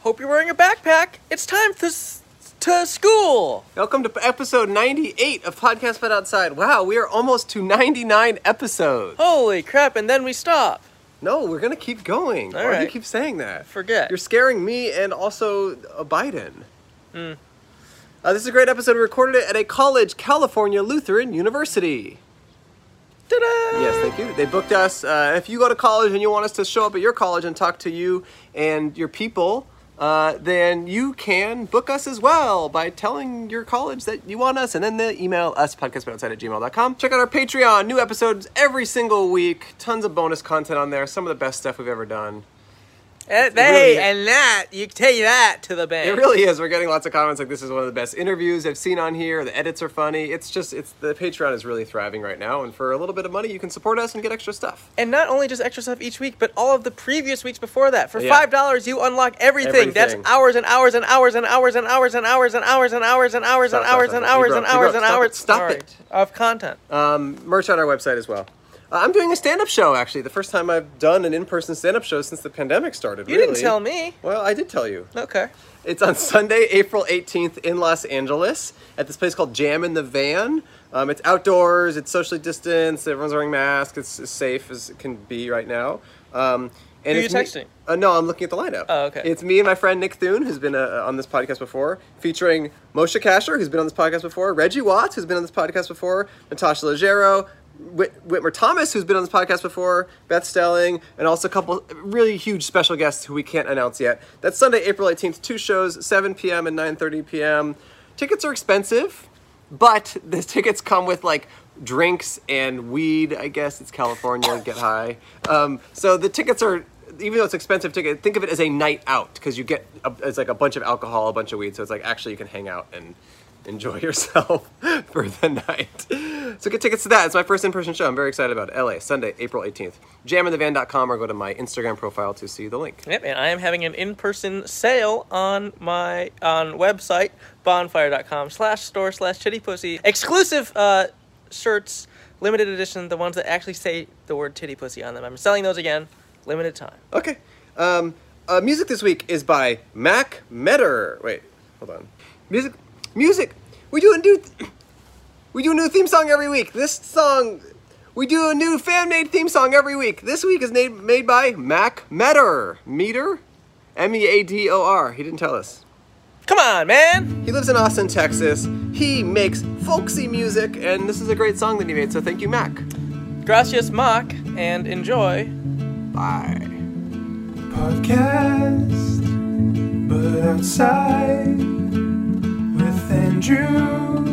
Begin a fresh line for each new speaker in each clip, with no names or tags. Hope you're wearing a backpack. It's time to s- to school.
Welcome to episode 98 of Podcast Fed Outside. Wow, we are almost to 99 episodes.
Holy crap! And then we stop.
No, we're gonna keep going.
All
Why do you
right.
keep saying that?
Forget.
You're scaring me and also uh, Biden.
Mm.
Uh, this is a great episode. We recorded it at a college, California Lutheran University.
Ta-da!
Yes, thank you. They booked us. Uh, if you go to college and you want us to show up at your college and talk to you and your people, uh, then you can book us as well by telling your college that you want us and then they email us podcastboutside at gmail.com. Check out our Patreon, new episodes every single week, tons of bonus content on there, some of the best stuff we've ever done.
And
really-
they Eh, and that you take that to the bank.
It really is. We're getting lots of comments like this is one of the best interviews I've seen on here. The edits are funny. It's just it's the Patreon is really thriving right now, and for a little bit of money you can support us and get extra stuff.
And not only just extra stuff each week, but all of the previous weeks before that. For
Yeah.
five dollars, you unlock everything. That's
Everything.
hours and hours and hours and hours and hours and hours and hours and hours and hours and
Stop, stop,
hours
stop,
and
stop. You
hours
broke,
and
you broke.
hours and
Stop
hours.
it, stop
Sorry.
it.
Of content.
um, merch on our website as well. Uh, I'm doing a stand-up show actually. The first time I've done an in-person stand-up show since the pandemic started.
You didn't
really.
tell me.
Well, I did tell you.
Okay.
It's on Sunday, April 18th in Los Angeles at this place called Jam in the Van. Um, it's outdoors, it's socially distanced, everyone's wearing masks, it's as safe as it can be right now. Um, and
Who are
it's
you
me-
texting?
uh, no, I'm looking at the lineup.
Oh, okay.
It's me and my friend Nick Thune, who's been uh, on this podcast before, featuring Moshe Kasher, who's been on this podcast before, Reggie Watts, who's been on this podcast before, Natasha Leggero, Whit- Whitmer Thomas, who's been on this podcast before, Beth Stelling, and also a couple really huge special guests who we can't announce yet. That's Sunday, April 18th, two shows, 7 p.m. and 9.30 p.m. Tickets are expensive, but the tickets come with like drinks and weed. I guess it's California, get high. Um, so the tickets are, even though it's expensive ticket, think of it as a night out because you get a, it's like a bunch of alcohol, a bunch of weed. So it's like actually you can hang out and enjoy yourself for the night. So get tickets to that. It's my first in-person show. I'm very excited about it. LA, Sunday, April 18th. Jaminthevan.com or go to my Instagram profile to see the link.
Yep, and I am having an in-person sale on my on website bonfire.com slash store slash titty pussy exclusive uh, shirts, limited edition, the ones that actually say the word titty pussy on them. I'm selling those again, limited time.
Okay. Um, uh, music this week is by Mac Metter. Wait, hold on. Music, music. We do a new, we do a new theme song every week. This song, we do a new fan-made theme song every week. This week is made made by Mac Metter. Meter, M E A D O R. He didn't tell us.
Come on, man!
He lives in Austin, Texas. He makes folksy music, and this is a great song that he made. So thank you, Mac.
Gracias mock and enjoy.
Bye.
podcast, but outside with Andrew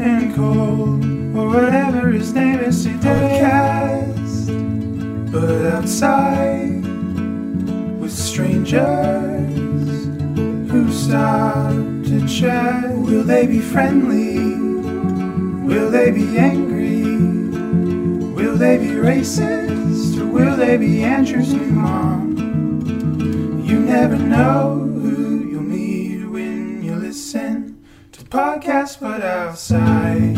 and Cole or whatever his name is today. Podcast, but outside with strangers who stop to chat. Will they be friendly? Will they be angry? Will they be racist or will they be Andrew's new mom? You never know who you'll meet when you listen to podcasts but outside.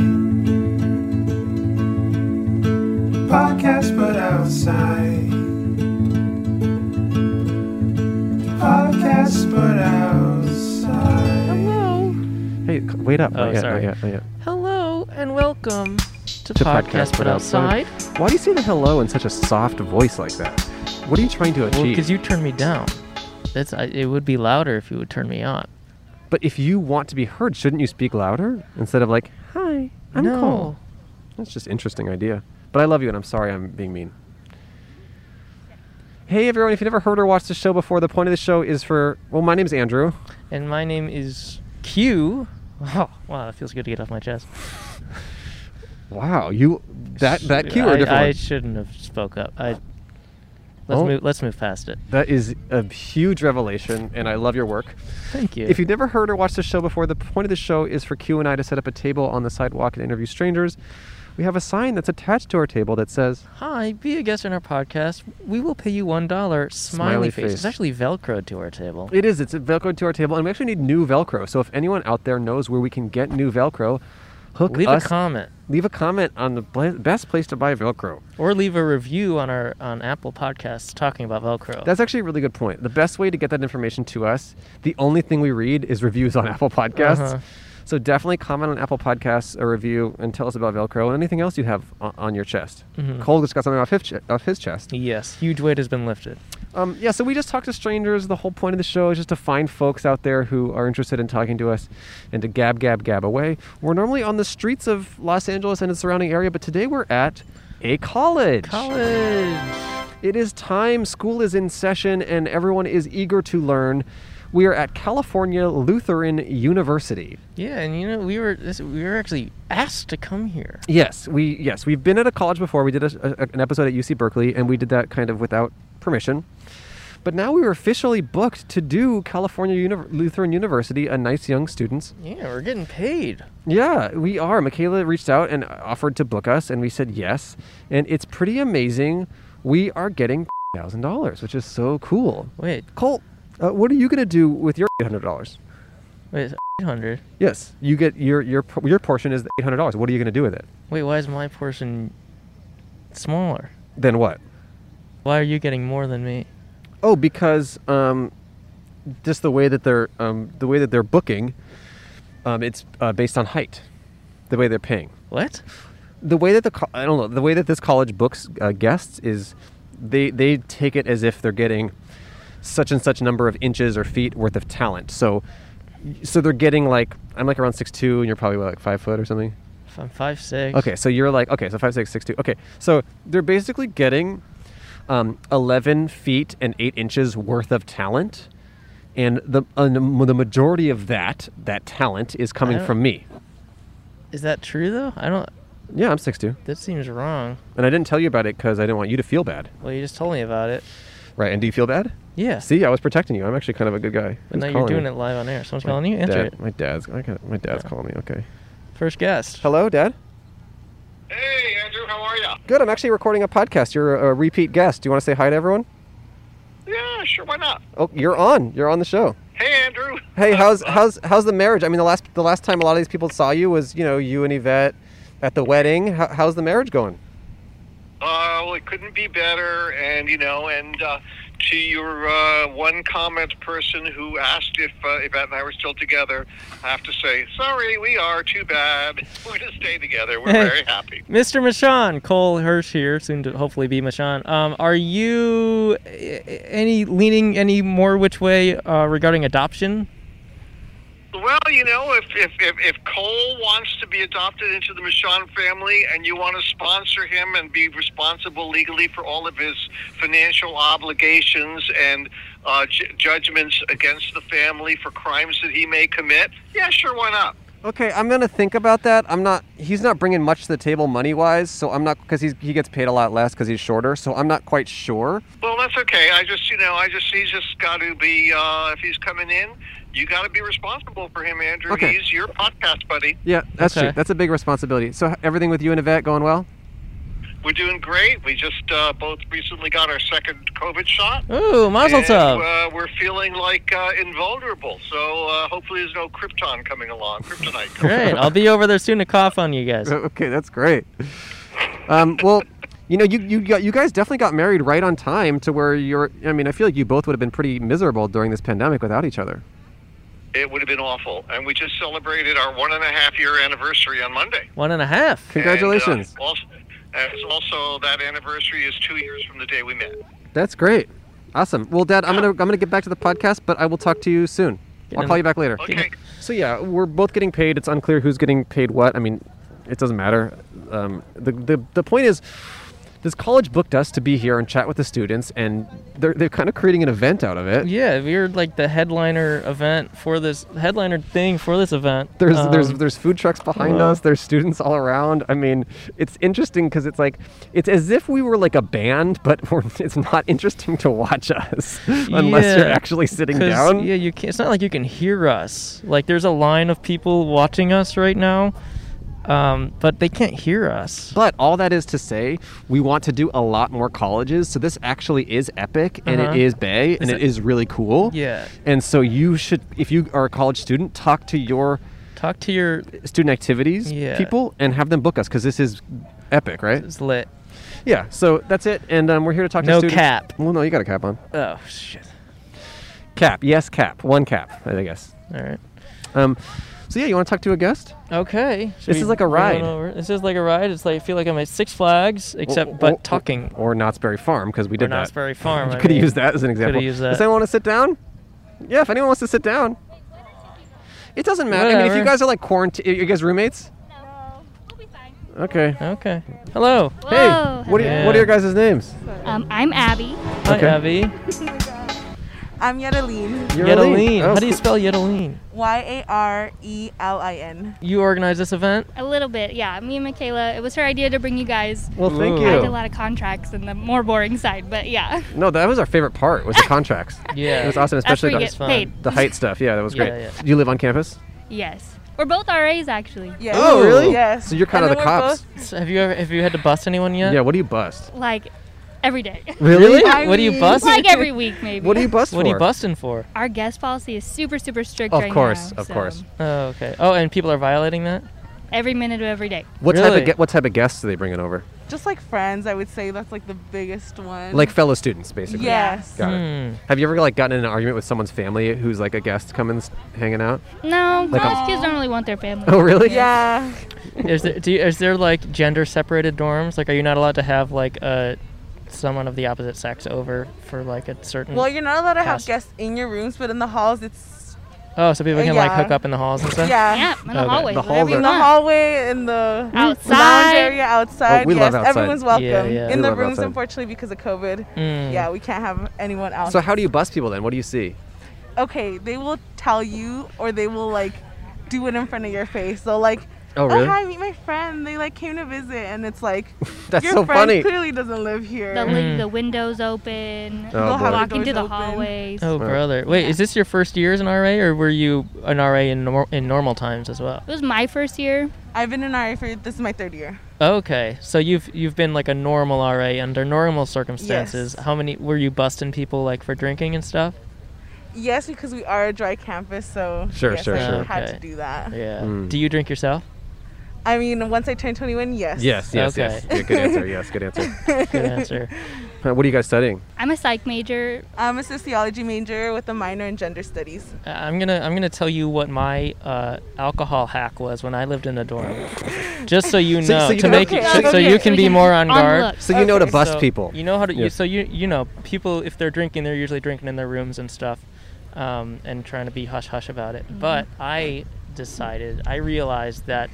Podcasts but outside. Podcasts but outside.
Hey, c- wait up.
Oh,
not yet,
sorry.
Not yet, not yet.
Hello and welcome to,
To
Podcast But Outside.
Why do you say the hello in such a soft voice like that? What are you trying to
Well,
achieve?
because you turned me down. That's I, it would be louder if you would turn me on.
but if you want to be heard, shouldn't you speak louder instead of like, "Hi, I'm
no.
Cole." That's just interesting idea. But I love you, and I'm sorry I'm being mean. Hey everyone! If you've never heard or watched the show before, the point of the show is for well, my name's Andrew.
And my name is Q. Oh, wow, it feels good to get off my chest.
Wow, you that that cue or
I,
a different
I
one?
shouldn't have spoke up. I let's
Oh.
move. Let's move past it.
that is a huge revelation, and I love your work.
Thank you.
If you've never heard or watched the show before, the point of the show is for Q and I to set up a table on the sidewalk and interview strangers. We have a sign that's attached to our table that says,
hi, be a guest on our podcast. We will pay you one dollar. Smiley,
Smiley
face. It's
face.
actually velcroed to our table.
"It is. It's Velcro to our table, and we actually need new Velcro. So if anyone out there knows where we can get new Velcro,
Hook
Leave
us.
a comment
leave a comment on the bla- best place to buy Velcro.
or leave a review on our on Apple Podcasts talking about Velcro.
That's actually a really good point. The best way to get that information to us, the only thing we read is reviews on Apple Podcasts.
Uh-huh.
So definitely comment on Apple Podcasts, a review, and tell us about Velcro and anything else you have on, on your chest. Cole just got something off his, ch- off his chest.
yes, huge weight has been lifted.
Um, yeah, so we just talk to strangers. The whole point of the show is just to find folks out there who are interested in talking to us and to gab, gab, gab away. We're normally on the streets of Los Angeles and its surrounding area, but today we're at a college.
College.
It is time. School is in session and everyone is eager to learn. We are at California Lutheran University.
Yeah, and you know we were this, we were actually asked to come here.
Yes, we yes we've been at a college before. We did a, a- an episode at UC Berkeley, and we did that kind of without permission. But now we were officially booked to do California Univ- Lutheran University, a nice young students.
Yeah, we're getting paid.
Yeah, we are. Michaela reached out and offered to book us, and we said yes. And it's pretty amazing. We are getting thousand dollars, which is so cool.
Wait,
Colt, uh, what are you gonna do with your eight hundred dollars?
wait, eight hundred.
Yes, you get your your por- your portion is the eight hundred dollars. What are you gonna do with it?
Wait, why is my portion smaller?
Then what?
Why are you getting more than me?
Oh, because um, just the way that they're um, the way that they're booking, um, it's uh, based on height. The way they're paying,
What?
the way that the co- I don't know the way that this college books uh, guests is, they they take it as if they're getting such and such number of inches or feet worth of talent. So, so they're getting like I'm like around six two, and you're probably what, like five foot or something.
If I'm five six.
Okay, so you're like okay, so five six six two. Okay, so they're basically getting um, eleven feet and eight inches worth of talent, and the uh, the majority of that that talent is coming
don't-
from me.
Is that true though? I don't.
Yeah, I'm six two,
That seems wrong.
and I didn't tell you about it because I didn't want you to feel bad.
Well, you just told me about it.
Right, and do you feel bad?
Yeah.
See, I was protecting you. I'm actually kind of a good guy.
But now you're doing it live on air. Someone's calling you. Answer it.
My dad's I got, my dad's calling me. Okay.
First guest.
Hello, Dad.
Hey, Andrew, how are ya?
Good. I'm actually recording a podcast. You're a, a repeat guest. Do you want to say hi to everyone?
Yeah, sure, why not?
Oh, you're on. You're on the show.
Hey, Andrew.
Hey,
Uh,
how's
uh,
how's how's the marriage? I mean, the last the last time a lot of these people saw you was you know you and Yvette at the wedding. How, how's the marriage going?
Uh, well, it couldn't be better, and you know, and uh, to your uh, one comment person who asked if uh, Yvette and I were still together, I have to say, sorry, we are. Too bad. We're gonna stay together. We're very happy.
Mr. Machon, Cole Hirsch here, soon to hopefully be Machon. Um, are you uh, any leaning any more which way uh, regarding adoption?
Well, you know, if, if, if, if Cole wants to be adopted into the Michon family and you want to sponsor him and be responsible legally for all of his financial obligations and uh, j- judgments against the family for crimes that he may commit, yeah, sure, why not?
Okay, I'm gonna think about that. I'm not. He's not bringing much to the table money wise, so I'm not because he gets paid a lot less because he's shorter. So I'm not quite sure.
Well, that's okay. I just, you know, I just, he's just got to be, uh, if he's coming in, you got to be responsible for him, Andrew.
Okay.
He's your podcast buddy.
Yeah, that's
Okay.
true. That's a big responsibility. So h- everything with you and Yvette going well?
We're doing great. We just uh, both recently got our second COVID shot.
Ooh, Mazel
And,
Tov.
uh, we're feeling like uh, invulnerable, so uh, hopefully there's no Krypton coming along, Kryptonite. Coming.
Great. I'll be over there soon to cough on you guys.
Okay, that's great. Um, well, you know, you you got, you guys definitely got married right on time to where you're. I mean, I feel like you both would have been pretty miserable during this pandemic without each other.
It would have been awful, and we just celebrated our one and a half year anniversary on Monday.
One and a half.
Congratulations.
And, uh, also, and it's also, that anniversary is two years from the day we met.
That's great. Awesome. Well, Dad, I'm gonna I'm gonna get back to the podcast, but I will talk to you soon. I'll
in-
call you back later.
Okay.
So yeah, we're both getting paid. It's unclear who's getting paid what. I mean, it doesn't matter. Um, the, the the point is, this college booked us to be here and chat with the students, and they're they're kind of creating an event out of it.
Yeah, we were like the headliner event for this headliner thing for this event.
There's there's
Um,
there's food trucks behind us. There's students all around. I mean, it's interesting because it's like it's as if we were like a band, but we're, it's not interesting to watch us unless you're
Yeah,
actually sitting
'cause,
down.
Yeah, you can It's not like you can hear us. Like there's a line of people watching us right now, um, but they can't hear us.
But all that is to say, we want to do a lot more colleges. So this actually is epic and
Uh-huh.
it is bay and
Is
it
it-
is really cool.
Yeah.
And so you should, if you are a college student, talk to your
Talk talk to your
student activities
Yeah.
people and have them book us because this is epic, right?
it's lit.
Yeah. So that's it, and um, we're here to talk
No
to students.
cap.
Well, no, you got a cap on.
Oh shit.
Cap. Yes, cap. One cap, I guess.
All right.
Um, so yeah, you want to talk to a guest?
Okay. Should
This
we
is like a
move on
ride.
over? This is like a ride. It's like I feel like I'm at Six Flags, except
Or-
but
or-
talking.
or, Knott's Berry Farm because we
Or
did
Knott's
that.
Berry Farm.
You
I
could have
mean.
used that as an example.
used
Does
that.
anyone want to sit down? Yeah, if anyone wants to sit down. It doesn't matter. I mean, if you
Whatever.
guys are like quarantine, you guys roommates?
No. We'll be fine.
Okay.
Okay. Hello.
Hey,
Whoa.
what are,
Yeah.
what are your guys' names?
Um, I'm Abby.
Hi,
Okay.
Abby.
I'm Yedeline.
Yedeline.
Oh,
How do you spell Yedeline?
Y A R E L I N.
You organized this event.
A little bit, yeah. Me and Michaela. It was her idea to bring you guys.
Well, thank
Ooh.
I did a
you.
lot of contracts and the more boring side, but yeah.
No, that was our favorite part was the contracts.
Yeah.
It was awesome,
That's
especially
where you
the,
get
fun.
paid.
the height stuff. Yeah, that was
Yeah,
great.
yeah.
Do you live on campus?
Yes. We're both RAs actually.
Yes.
Oh, really?
Yes.
So you're kind
And
of
then
the
we're
cops.
So have you ever have you had to bust anyone yet?
Yeah, what do you bust?
Like every day.
Really?
I
What do you
mean-
bust?
like every week maybe.
What do you bust
What
for?
are you busting for?
Our guest policy is super super strict
Of
right
course,
now,
of
so
course.
Oh, okay. Oh, and people are violating that.
Every minute of every day.
What type
Really?
of ge- what type of guests are they bringing over?
both- Just like friends, I would say that's like the biggest one.
Like fellow students, basically.
yes.
Got it.
Hmm.
Have you ever like gotten in an argument with someone's family who's like a guest coming s- hanging out?
No,
Like a-
most kids don't really want their family.
Oh really?
Yeah.
Is there do you, is there like gender separated dorms? Like, are you not allowed to have like uh, someone of the opposite sex over for like a certain?
Well, you're not allowed to
Mm. Pass.
have guests in your rooms, but in the halls, it's
oh, so people can like
yeah.
hook up in the halls and stuff.
yeah.
Yeah, in the
Okay.
hallway.
The
whatever you
In
hallway.
the
want.
hallway, in the
Outside.
lounge area, outside.
Oh, we
yes,
love outside.
everyone's welcome.
Yeah, yeah.
In
We
the
love
rooms,
outside.
unfortunately, because of COVID.
Mm.
Yeah, we can't have anyone out.
So how do you bust people then? What do you see?
okay, they will tell you or they will like do it in front of your face. They'll like,
Oh, really?
hi, meet my friend. They like came to visit, and it's like,
That's
your
so
friend
Oh, funny. Mm.
clearly doesn't live here.
They'll leave the windows open.
Oh,
They'll
boy.
have
walk
doors
into the
open.
hallways.
Oh, brother. Wait, is this your first year as an RA, or were you an RA in nor- in normal times as well?
It was my first year.
I've been in RA for this is my third year.
Okay, so you've you've been like a normal RA under normal circumstances.
Yes.
How many were you busting people like for drinking and stuff?
Yes, because we are a dry campus, so
Sure,
yes,
sure,
I
sure.
had
Okay.
to do that.
Yeah.
Mm.
Do you drink yourself?
I mean, once I turned 21, yes.
Yes, yes, yes.
Okay.
Yeah, good answer. Yes, good answer.
Good answer.
Uh, what are you guys studying?
I'm a psych major.
I'm a sociology major with a minor in gender studies.
Uh, I'm gonna I'm gonna tell you what my uh, alcohol hack was when I lived in a dorm, just so you know,
So- so you
to
know-
make
Okay,
so, so
okay.
you can be more on guard.
looks.
So you know to
Okay,
bust
So
people.
You know how to. You,
Yes.
so you you know people if they're drinking, they're usually drinking in their rooms and stuff, um, and trying to be hush hush about
Mm-hmm.
it. But I decided, I realized that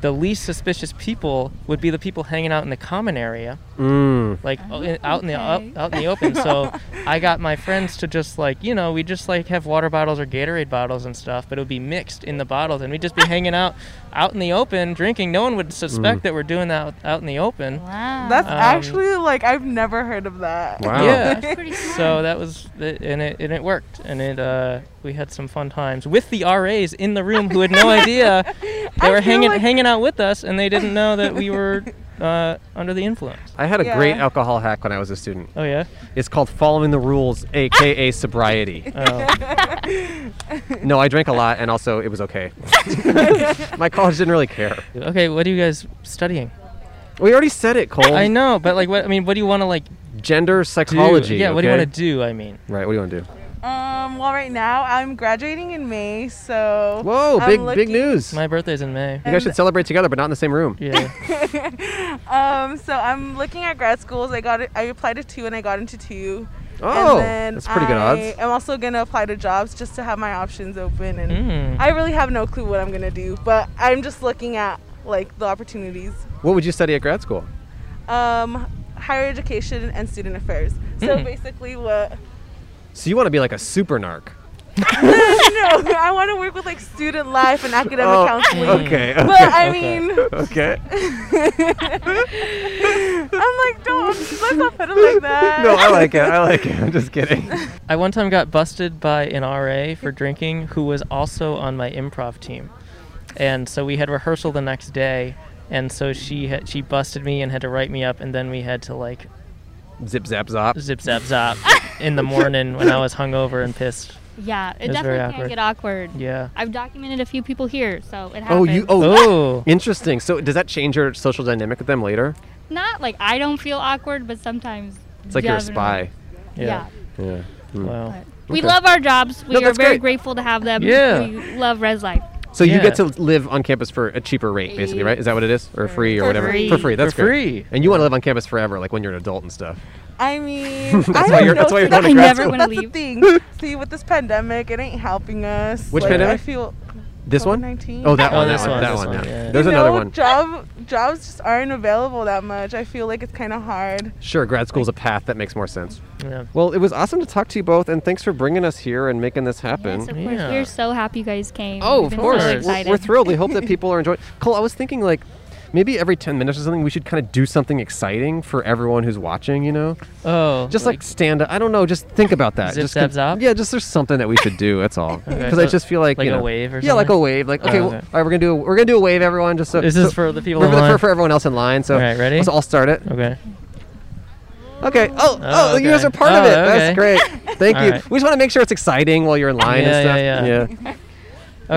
the least suspicious people would be the people hanging out in the common area
Mm.
like o- in- out in the out,
Oh, okay.
out in the open. So I got my friends to just like you know we just like have water bottles or Gatorade bottles and stuff, but it would be mixed in the bottles, and we'd just be hanging out out in the open drinking. No one would
Mm.
suspect that we're doing that out in the open.
Wow.
That's
Um,
actually like I've never heard of that.
Wow.
Yeah.
That's pretty smart.
So that was the, and it and it worked, and it uh, we had some fun times with the RAs in the room who had no idea they
I
were
feel
hanging
like-
hanging out with us, and they didn't know that we were uh, under the influence.
I had a great
Yeah.
alcohol hack when I was a student.
Oh yeah.
It's called following the rules, aka sobriety.
Oh.
No, I drank a lot, and also it was okay. My college didn't really care.
Okay, what are you guys studying?
We already said it, Cole.
I know, but like, what I mean, what do you want to like
Gender
do?
psychology.
yeah, what do you
okay?
want to do? I mean,
Right. What do you want to do?
Um, well, right now I'm graduating in May, so
Whoa!
I'm
big big
looking-
news.
my birthday's in May.
you guys should celebrate together, but not in the same room.
Yeah.
Um, so I'm looking at grad schools. I got it, I applied to two and I got into two.
Oh,
and then
that's pretty good
I
odds.
I'm also gonna apply to jobs just to have my options open, and
Hmm.
Mm.
I really have no clue what I'm gonna do, but I'm just looking at like the opportunities.
What would you study at grad school?
Um, higher education and student affairs. So
Hmm.
basically, what?
So you want to be like a super narc?
No, I want to work with like student life and academic counseling.
Oh, okay.
But I
Okay.
mean,
okay.
I'm like, don't let's not put it like that.
No, I like it. I like it. I'm just kidding.
I one time got busted by an RA for drinking who was also on my improv team, and so we had rehearsal the next day, and so she had, she busted me and had to write me up, and then we had to like
Zip zap zop.
zip zap zap in the morning when I was hungover and pissed.
Yeah, it,
It's very
definitely can
awkward.
get awkward.
Yeah.
I've documented a few people here, so it happens.
Oh, you. Oh,
Oh,
interesting. So does that change your social dynamic with them later?
Not like I don't feel awkward, but sometimes.
It's like you're a
definitely.
spy.
Yeah.
Yeah.
Yeah. Mm.
wow.
We
Okay.
love our jobs. We
No,
are
that's
very
great.
grateful to have them.
Yeah.
We love Res Life.
So you get to
Yeah.
live on campus for a cheaper rate, basically, right? Is that what it is, or free, or
For
whatever?
free.
For free. That's
For
great.
free.
And you want to live on campus forever, like when you're an adult and stuff.
I mean, that's I
why
don't
you're-
know
that's why you're
if it-
going to I grad never
school. wanna
That's
leave.
the thing. See, with this pandemic, it ain't helping us.
Which
Like, I
pandemic?
feel
This one?
COVID-19.
Oh, that
Oh,
one.
this
That one.
one,
That
this
one.
one,
yeah.
yeah.
There's
you
another
know,
one.
Job jobs just aren't available that much. I feel like it's kind of hard.
Sure, grad school's a path that makes more sense.
Yeah.
Well, it was awesome to talk to you both, and thanks for bringing us here and making this happen.
Yes, of course.
Yeah.
We're so happy you guys came.
Oh,
We've
of
been
course.
So
We're-
We're,
excited.
we're thrilled. We hope that people are enjoying. Cole, I was thinking like maybe every 10 minutes or something we should kind of do something exciting for everyone who's watching, you know?
Oh,
Just like, stand up. I don't know, just think about that.
Zip,
just
zap,
con-
zap?
Yeah, just there's something that we should do, that's all. Cuz
Okay,
I
so
just feel like,
like
you
a
know.
wave or
Yeah, like a
something?
wave. Like
Oh,
okay, well,
okay.
all right, we're going to do a, we're going to do a wave everyone just so
This is
so-
for the people
we're gonna-
online?
for, for everyone else in line. So
All right, ready?
So I'll start it.
okay.
Okay. Oh, oh,
Oh,
you guys
okay.
are part of
Oh,
it. That's
okay.
great. Thank
All
you.
right.
We just want to make sure it's exciting while you're in line and
Yeah,
stuff.
yeah, yeah.
All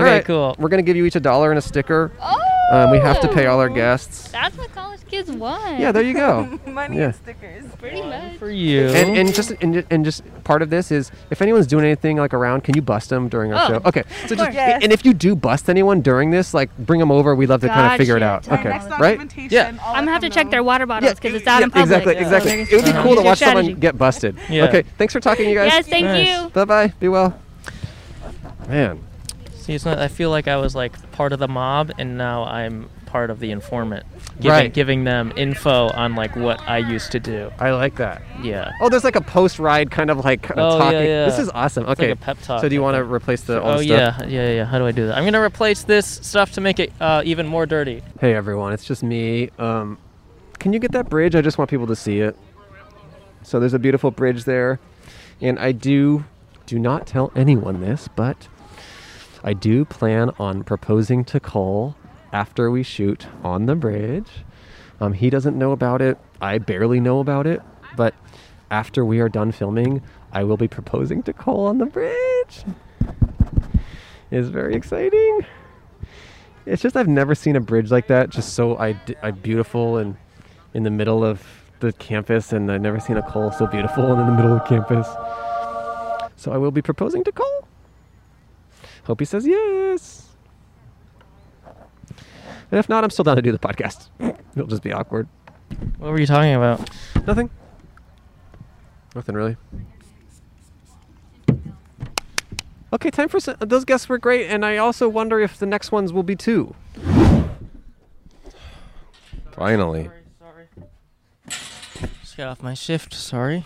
Okay,
right,
cool.
We're gonna give you each a dollar and a sticker.
Oh,
Um, we have to pay all our guests.
That's what college kids want.
Yeah, there you go.
Money
Yeah.
and stickers.
pretty much.
For you.
And, and just and, ju- and just part of this is if anyone's doing anything like around, can you bust them during our
Oh,
show? Okay. So just
course.
Yes.
and if you do bust anyone during this, like bring them over. We'd love to kind of
Gotcha.
figure it out.
Our
Okay.
Next
Right.
documentation.
Yeah.
I'll
I'm gonna
let
have to
them
check
know.
their water bottles because it's out in
yeah,
public.
Exactly.
so
Exactly.
there's-
It would be
Uh-huh.
cool to
Use your
watch someone
strategy.
get busted.
Yeah.
Okay. Thanks for talking, you guys.
Yes, thank
Nice.
you.
Bye bye. Be well. Man.
See, it's not, I feel like I was like part of the mob, and now I'm part of the informant, giving,
Right.
giving them info on like what I used to do.
I like that.
Yeah.
Oh, there's like a post ride kind of like a
Oh, yeah,
talking. This
yeah.
is awesome.
It's
okay.
like a pep talk,
So do you
I
want to replace the old
Oh
stuff?
yeah, yeah, yeah. How do I do that? I'm gonna replace this stuff to make it uh, even more dirty.
Hey everyone, it's just me. Um, can you get that bridge? I just want people to see it. So there's a beautiful bridge there, and I do do not tell anyone this, but I do plan on proposing to Cole after we shoot on the bridge. Um, he doesn't know about it. I barely know about it, but after we are done filming, I will be proposing to Cole on the bridge. It's very exciting. It's just I've never seen a bridge like that, just so I, I beautiful and in the middle of the campus, and I've never seen a Cole so beautiful and in the middle of campus. So I will be proposing to Cole. Hope he says yes. And if not, I'm still down to do the podcast. It'll just be awkward.
What were you talking about?
Nothing. Nothing really. Okay, time for s those guests were great, and I also wonder if the next ones will be two. Finally,
Sorry. Just got off my shift. Sorry.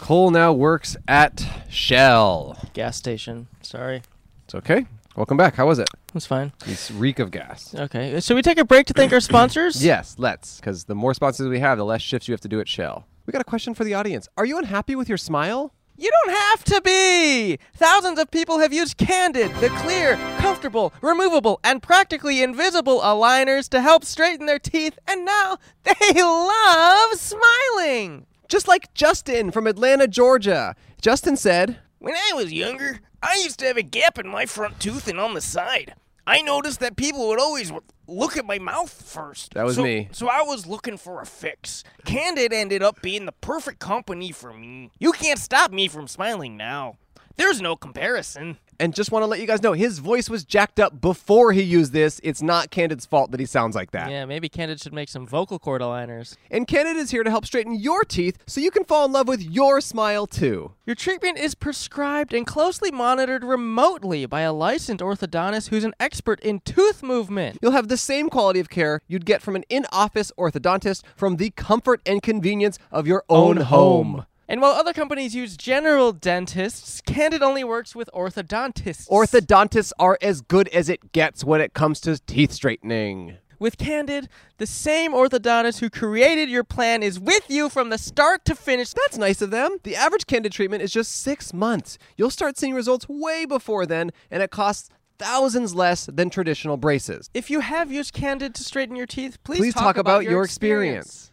Cole now works at Shell.
Gas station. Sorry.
It's okay. Welcome back. How was it?
It's fine.
It's reek of gas.
uh,
Okay. Should we take a break to thank our sponsors?
Yes, let's. Because the more sponsors we have, the less shifts you have to do at Shell. We got a question for the audience. Are you unhappy with your smile?
You don't have to be! Thousands of people have used Candid, the clear, comfortable, removable, and practically invisible aligners to help straighten their teeth, and now they love smiling!
Just like Justin from Atlanta, Georgia. Justin said,
When I was younger, I used to have a gap in my front tooth and on the side. I noticed that people would always w- look at my mouth first.
That was
So-
me.
So I was looking for a fix. Candid ended up being the perfect company for me. You can't stop me from smiling now. There's no comparison.
and just want to let you guys know his voice was jacked up before he used this. It's not Candid's fault that he sounds like that.
Yeah, maybe Candid should make some vocal cord aligners.
And Candid is here to help straighten your teeth so you can fall in love with your smile too.
Your treatment is prescribed and closely monitored remotely by a licensed orthodontist who's an expert in tooth movement.
You'll have the same quality of care you'd get from an in office orthodontist from the comfort and convenience of your own, home.
And while other companies use general dentists, Candid only works with orthodontists.
Orthodontists are as good as it gets when it comes to teeth straightening.
with Candid, the same orthodontist who created your plan is with you from the start to finish.
That's nice of them. The average Candid treatment is just six months. You'll start seeing results way before then, and it costs thousands less than traditional braces.
If you have used Candid to straighten your teeth, please,
Please talk about your
experience.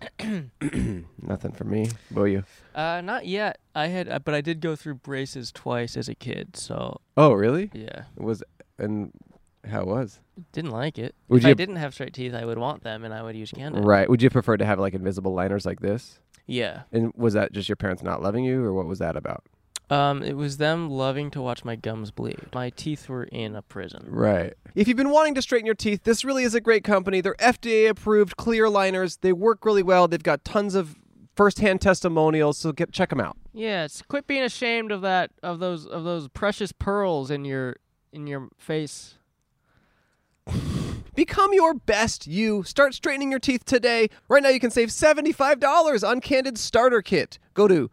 Nothing for me. Will you?
Uh, not yet. I had, uh, but I did go through braces twice as a kid. So
Oh, really?
yeah,
It was and how it was?
didn't like it.
Would
if
you-
I didn't have straight teeth, I would want them, and I would use Candid.
Right. Would you prefer to have like invisible liners like this?
Yeah.
And was that just your parents not loving you, or what was that about?
Um, it was them loving to watch my gums bleed. My teeth were in a prison.
Right. If you've been wanting to straighten your teeth, this really is a great company. They're FDA approved clear liners. They work really well. They've got tons of firsthand testimonials, so get, check them out.
Yes, quit being ashamed of that of those of those precious pearls in your in your face.
Become your best you. Start straightening your teeth today. Right now, you can save $75 on Candid Starter Kit. Go to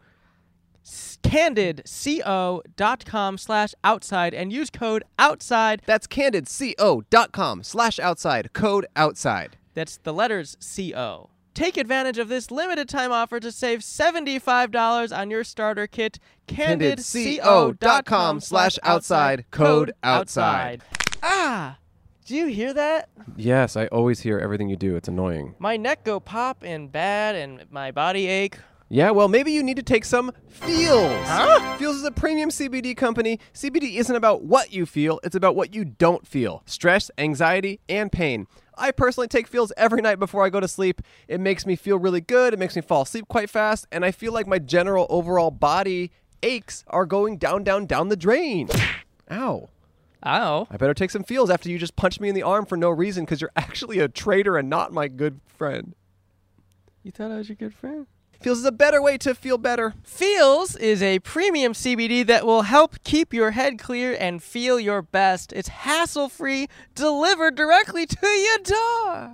candidco.com slash outside and use code outside
that's candidco.com slash outside code outside.
that's the letters co take advantage of this limited time offer to save $75 on your starter kit
candidco.com slash outside code outside
ah do you hear that
Yes, I always hear everything you do. It's annoying.
my neck go pop and bad and my body ache
Yeah, well, maybe you need to take some Feels. Feels is a premium CBD company. CBD isn't about what you feel, it's about what you don't feel stress, anxiety, and pain. I personally take Feels every night before I go to sleep. It makes me feel really good, it makes me fall asleep quite fast, and I feel like my general overall body aches are going down, down, down the drain. Ow.
Ow.
I better take some Feels after you just punched me in the arm for no reason because you're actually a traitor and not my good friend.
You thought I was your good friend?
Feels is a better way to feel better.
Feels is a premium CBD that will help keep your head clear and feel your best. It's hassle free, delivered directly to your door.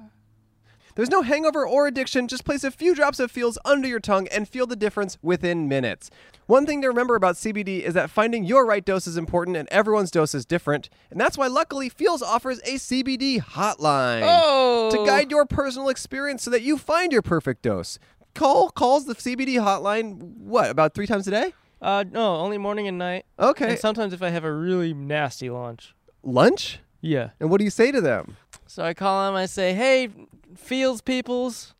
There's no hangover or addiction. Just place a few drops of feels under your tongue and feel the difference within minutes. One thing to remember about CBD is that finding your right dose is important and everyone's dose is different. And that's why luckily Feels offers a CBD hotline
Oh,
to guide your personal experience so that you find your perfect dose. Call calls the CBD hotline what about 3 times a day?
Uh, no, only morning and night.
Okay.
And sometimes if I have a really nasty lunch.
Lunch?
Yeah.
And what do you say to them?
So I call him. I say, "Hey, Fields peoples,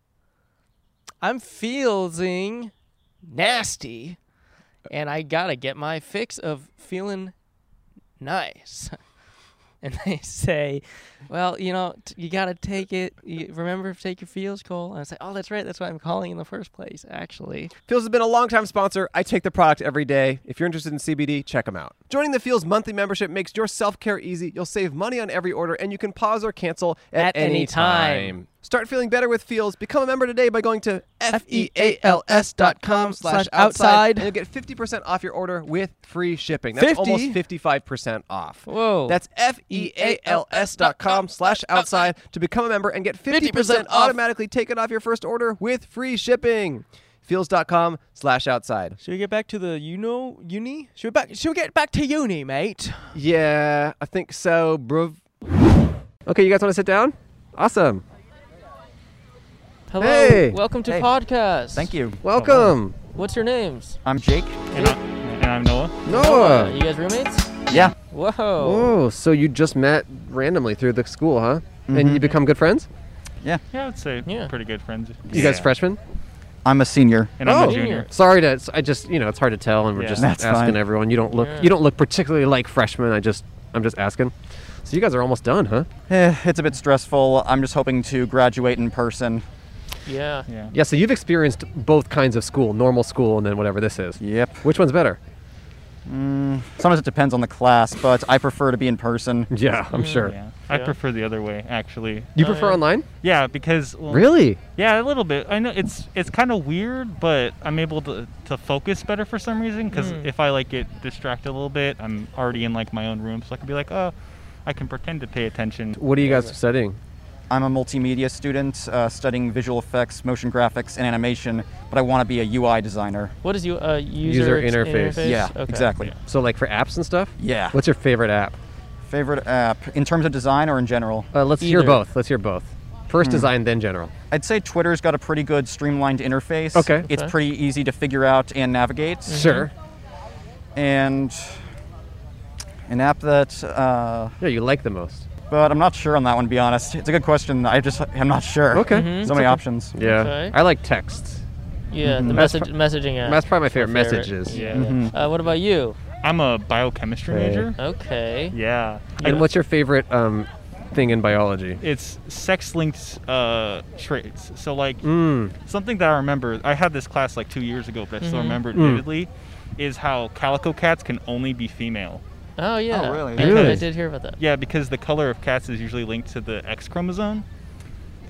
I'm feeling nasty, and I gotta get my fix of feeling nice." And they say, "Well, you know, t- you gotta take it. You remember, to take your feels, Cole." And I say, "Oh, that's right. That's why I'm calling in the first place, actually."
Feels has been a longtime sponsor. I take the product every day. If you're interested in CBD, check them out. Joining the Feels monthly membership makes your self care easy. You'll save money on every order, and you can pause or cancel
At
at,
any time.
Start feeling better with Feels. Become a member today by going to E
F-E-A-L-S dot com
feals.com
slash
slash
outside.
outside, and you'll get 50% off your order with free shipping. That's
50?
almost 55% off. E
Whoa.
That's F-E-A-L-S dot com slash outside to become a member and get 50%,
50% off.
automatically taken off your first order with free shipping. Feels.com slash outside.
Should we get back to the you know uni? Should we back? Should we get back to uni, mate?
Yeah, I think so, bruv. Okay, you guys want to sit down? Awesome.
Hello.
Hey.
Welcome to
Hey.
podcast.
Thank you.
Welcome.
What's your names?
I'm Jake.
And, I, and I'm Noah.
Uh,
Noah.
you guys roommates?
Yeah.
Whoa.
Oh, so you just met randomly through the school, huh?
Mm-hmm.
And you become good friends?
Yeah, I'd say
Yeah.
pretty good friends.
You guys freshmen?
I'm a senior.
And I'm
Oh.
a junior.
Sorry to I just, you know, it's hard to tell and we're
Yeah.
just
That's
asking
fine.
everyone. You don't look
Yeah.
you don't look particularly like freshmen. I just I'm just asking. So you guys are almost done, huh?
Eh, it's a bit stressful. I'm just hoping to graduate in person.
Yeah.
Yeah.
Yeah, so you've experienced both kinds of school, normal school and then whatever this is.
Yep. Mm,
Which one's better?
Sometimes it depends on the class, but I prefer to be in person.
Yeah, I'm sure.
Yeah. I
Mm, Yeah.
prefer the other way, actually.
You prefer
yeah.
online?
Uh, Yeah, because well,
Really?
Yeah, a little bit. I know it's it's kind of weird, but I'm able to, to focus better for some reason. Because
Mm.
if I like get distracted a little bit, I'm already in like my own room, so I can be like, oh, I can pretend to pay attention.
What are you guys studying?
I'm a multimedia student uh, studying visual effects, motion graphics, and animation, but I want to be a UI designer.
What is you uh, user,
User
ex-
interface.
Yeah,
Okay.
exactly.
So like for apps and stuff?
Yeah.
What's your favorite app?
Favorite app in terms of design or in general?
Uh, let's hear
Either.
both. Let's hear both. First
Hmm.
design, then general.
Hmm. I'd say Twitter's got a pretty good streamlined interface.
Okay. Mm-hmm.
It's
Okay.
pretty easy to figure out and navigate.
Sure.
And An app that. Uh,
yeah, you like the most.
But I'm not sure on that one. To be honest, it's a good question. I just I'm not sure.
Mm-hmm.
Okay. Mhm.
So many
Okay.
options.
Yeah. Okay. I like texts.
Yeah, the
Mm-hmm. That's
message messaging app.
that's probably my favorite, messages.
Yeah.
Mhm.
Uh, what about you?
I'm a biochemistry
Right.
major.
Okay.
Yeah. I-
And what's your favorite um, thing in biology?
it's sex-linked uh, traits. So like
Mm.
something that I remember, I had this class like two years ago, but I still
Mhm.
remember it
Mm.
vividly, is how calico cats can only be female.
Oh yeah. I, I
Because-
did hear about that.
Yeah, because the color of cats is usually linked to the X chromosome.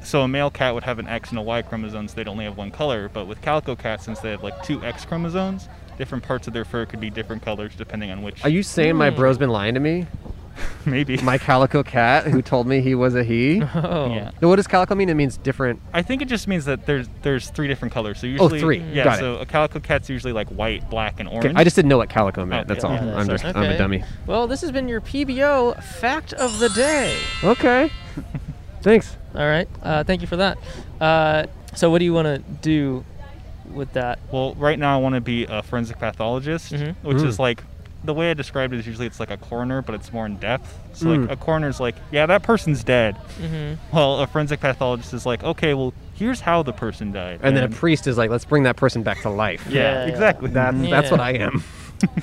So a male cat would have an X and a Y chromosomes. They'd only have one color. But with calico cats, since they have like two X chromosomes, different parts of their fur could be different colors depending on which.
Are you saying my
Hmm.
bro's been lying to me?
Hmm. Maybe.
My calico cat who told me he was a he?
Oh. Yeah.
No, what does calico mean? It means different.
I think it just means that there's there's three different colors. So
Oh,
usually
three.
Yeah.
Got it.
so a calico cat's usually like white, black, and orange. Oh,
I just didn't know what calico meant,
Okay.
that's all. I'm just- I'm a
Okay.
dummy.
Well, this has been your PBO fact of the day.
Okay. Thanks.
All right. Uh, thank you for that. Uh, so, what do you want to do with that?
Well, right now I want to be a uh, forensic pathologist,
Mhm.
which
Mm.
is like the way I describe it is usually it's like a coroner, but it's more in depth. So
Mm.
like a coroner's like, yeah, that person's dead.
Mhm.
Well, a forensic pathologist is like, okay, well here's how the person died.
And then a priest is like, let's bring that person back to life.
Yeah, Yeah. exactly.
That's, that's
Yeah.
what I am.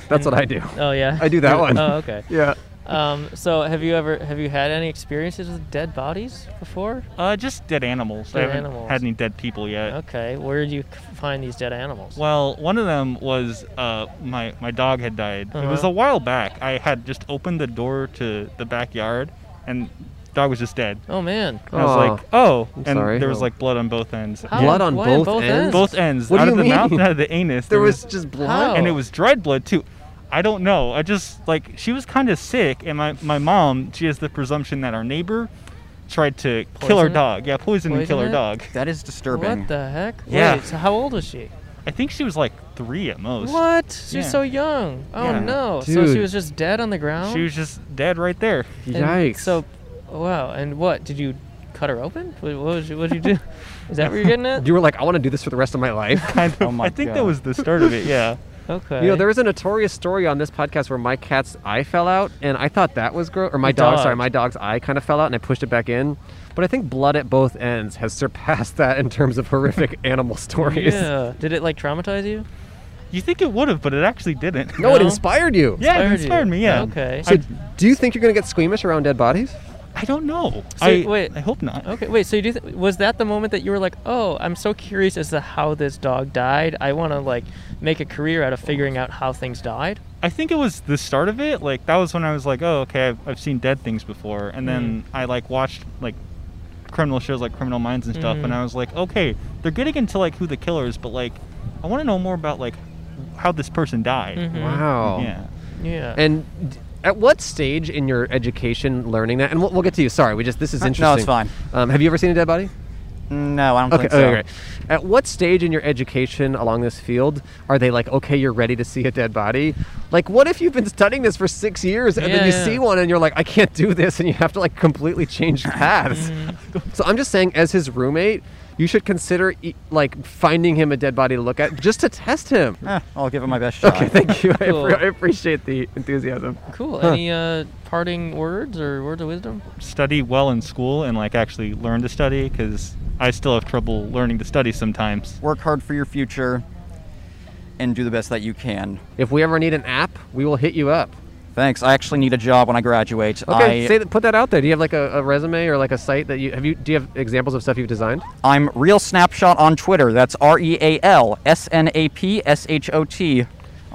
that's what I do.
Oh yeah.
I do that one.
Oh okay.
Yeah.
Um, so, have you ever have you had any experiences with dead bodies before?
uh, just dead animals. I
Dead
haven't
animals.
had any dead people yet.
Okay. Where did you c- find these dead animals?
Well, one of them was uh, my my dog had died. It was
Uh-huh.
a while back. I had just opened the door to the backyard, and dog was just dead.
Oh man.
And I was
Aw.
like, oh,
I'm
and
sorry.
there was
Oh.
like blood on both ends.
How? Blood on Why on both both ends? ends?
Both ends.
What do
out
you
of the
mean?
mouth and out of the anus.
There was just blood?
and it
How?
was dried blood too. I don't know. I just like she was kind of sick, and my my mom she has the presumption that our neighbor tried to kill her
Poison it?
dog. Yeah, poison, and kill
Poison
her
it?
dog.
That is disturbing.
What the heck?
Yeah.
Wait, so how old is she?
I think she was like three at most.
What? She's
Yeah.
so young. Oh
Yeah.
no. So she
Dude.
was just dead on the ground.
She was just dead right there.
And So, wow. And what did you cut her open? What what was you, what did you do? Is that what you're getting at?
You were like, I want to do this for the rest of my life.
Oh my
I think that was the start of it. Yeah.
Okay.
You know, there was a notorious story on this podcast where my cat's eye fell out, and I thought that was gross. Or my
Your
dog,
dog.
sorry, my dog's eye kind of fell out, and I pushed it back in. But I think blood at both ends has surpassed that in terms of horrific animal stories.
Yeah. Did it like traumatize you?
You think it would have, but it actually didn't.
No, it inspired you.
Yeah, it
Inspired you.
inspired me. Yeah.
Okay.
So, do you think you're going to get squeamish around dead bodies?
I don't know.
So,
I,
wait.
I hope not.
Okay. Wait. So you do? Th- was that the moment that you were like, "Oh, I'm so curious as to how this dog died. I want to like make a career out of figuring out how things died."
I think it was the start of it. Like that was when I was like, oh, okay, I've, I've seen dead things before, and
Mm.
then I like watched like criminal shows like Criminal Minds and stuff, and
Mhm.
I was like, okay, they're getting into like who the killer is, but like I want to know more about like how this person died.
Mhm.
Wow.
Mm-hmm. Yeah.
Yeah.
And d- at what stage in your education learning that? And we'll, we'll get to you. Sorry, we just this is
Uh, No, it's
interesting.
fine.
Um, have you ever seen a dead body?
No, I don't
Okay,
think so.
okay, great. At what stage in your education along this field are they like, okay, you're ready to see a dead body? Like, what if you've been studying this for six years and
Yeah,
then you
yeah.
see one and you're like, I can't do this, and you have to like completely change paths? so I'm just saying, as his roommate, you should consider e- like finding him a dead body to look at just to test him.
Eh, I'll give it my best shot.
Okay, thank you. I, appre-
Cool.
I appreciate the enthusiasm.
Cool.
Huh.
Any uh, parting words or words of wisdom?
Study well in school and like actually learn to study because I still have trouble learning to study sometimes.
Work hard for your future, and do the best that you can.
If we ever need an app, we will hit you up.
Thanks. I actually need a job when I graduate.
Okay,
I,
say that, put that out there. Do you have like a, a resume or like a site that you have? You do you have examples of stuff you've designed?
I'm Real Snapshot on Twitter. That's R E A L S N A P S H O T on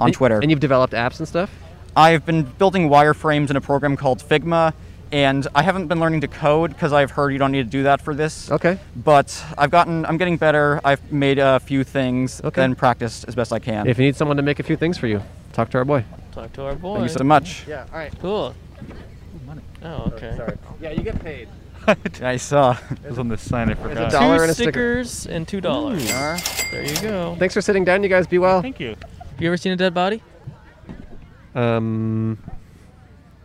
And-
Twitter.
And you've developed apps and stuff.
I've been building wireframes in a program called Figma, and I haven't been learning to code because I've heard you don't need to do that for this.
Okay.
But I've gotten, I'm getting better. I've made a few things
Okay.
and practiced as best I can.
If you need someone to make a few things for you, talk to our boy.
Talk to our boy.
Thank you so much.
Yeah. All right.
Cool. Oh, okay.
Yeah, you get paid.
I saw.
It was on the sign I forgot.
It's a dollar
two
and a sticker.
stickers and two dollars. There you go.
Thanks for sitting down, you guys. Be well.
Thank you.
You ever seen a dead body?
Um.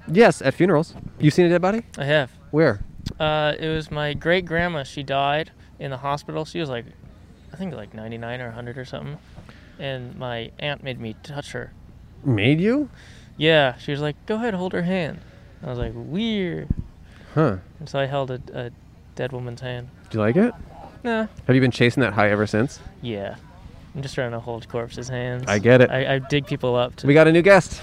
Yes, at funerals. You've seen a dead body?
I have.
Where?
Uh, it was my great grandma. She died in the hospital. She was like, I think like 99 or 100 or something. And my aunt made me touch her.
Made you?
Yeah, she was like, "Go ahead, hold her hand." I was like, "Weird."
Huh.
And so I held a, a dead woman's hand.
Do you like it?
Nah.
Have you been chasing that high ever since?
Yeah, I'm just trying to hold corpses' hands.
I get it.
I, I dig people up to
We got a new guest.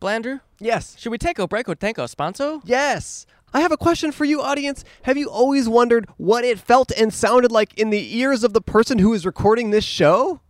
Blandrew?
Yes.
Should we take a break with Tanko Sponso?
Yes. I have a question for you, audience. Have you always wondered what it felt and sounded like in the ears of the person who is recording this show?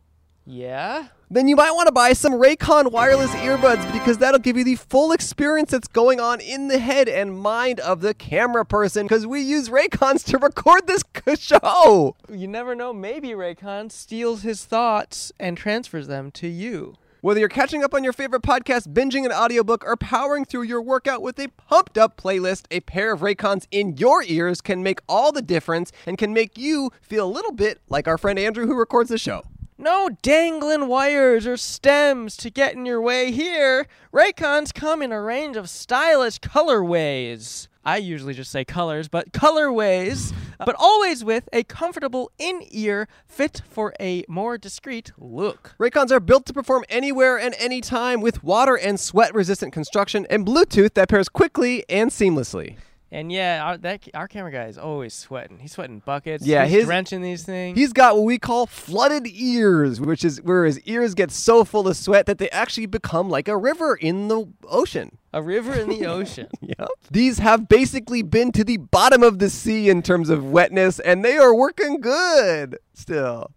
Yeah?
Then you might want to buy some Raycon wireless earbuds because that'll give you the full experience that's going on in the head and mind of the camera person because we use Raycons to record this show.
You never know, maybe Raycon steals his thoughts and transfers them to you.
Whether you're catching up on your favorite podcast, binging an audiobook, or powering through your workout with a pumped up playlist, a pair of Raycons in your ears can make all the difference and can make you feel a little bit like our friend Andrew who records the show.
No dangling wires or stems to get in your way here. Raycons come in a range of stylish colorways. I usually just say colors, but colorways, but always with a comfortable in ear fit for a more discreet look.
Raycons are built to perform anywhere and anytime with water and sweat resistant construction and Bluetooth that pairs quickly and seamlessly.
And yeah, our, that, our camera guy is always sweating. He's sweating buckets.
Yeah,
he's
his-
drenching these things.
He's got what we call flooded ears, which is where his ears get so full of sweat that they actually become like a river in the ocean.
a river in the ocean.
Yep. These have basically been to the bottom of the sea in terms of wetness, and they are working good still.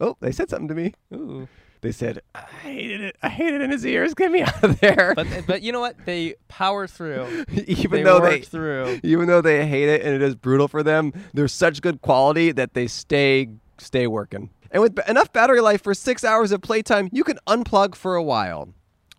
Oh, they said something to me.
Ooh.
They said, I hated it. I hate it in his ears. Get me out of there.
But but you know what? They power through.
even
they
though
work
they
through.
even though they hate it and it is brutal for them, they're such good quality that they stay stay working. And with b- enough battery life for 6 hours of playtime, you can unplug for a while.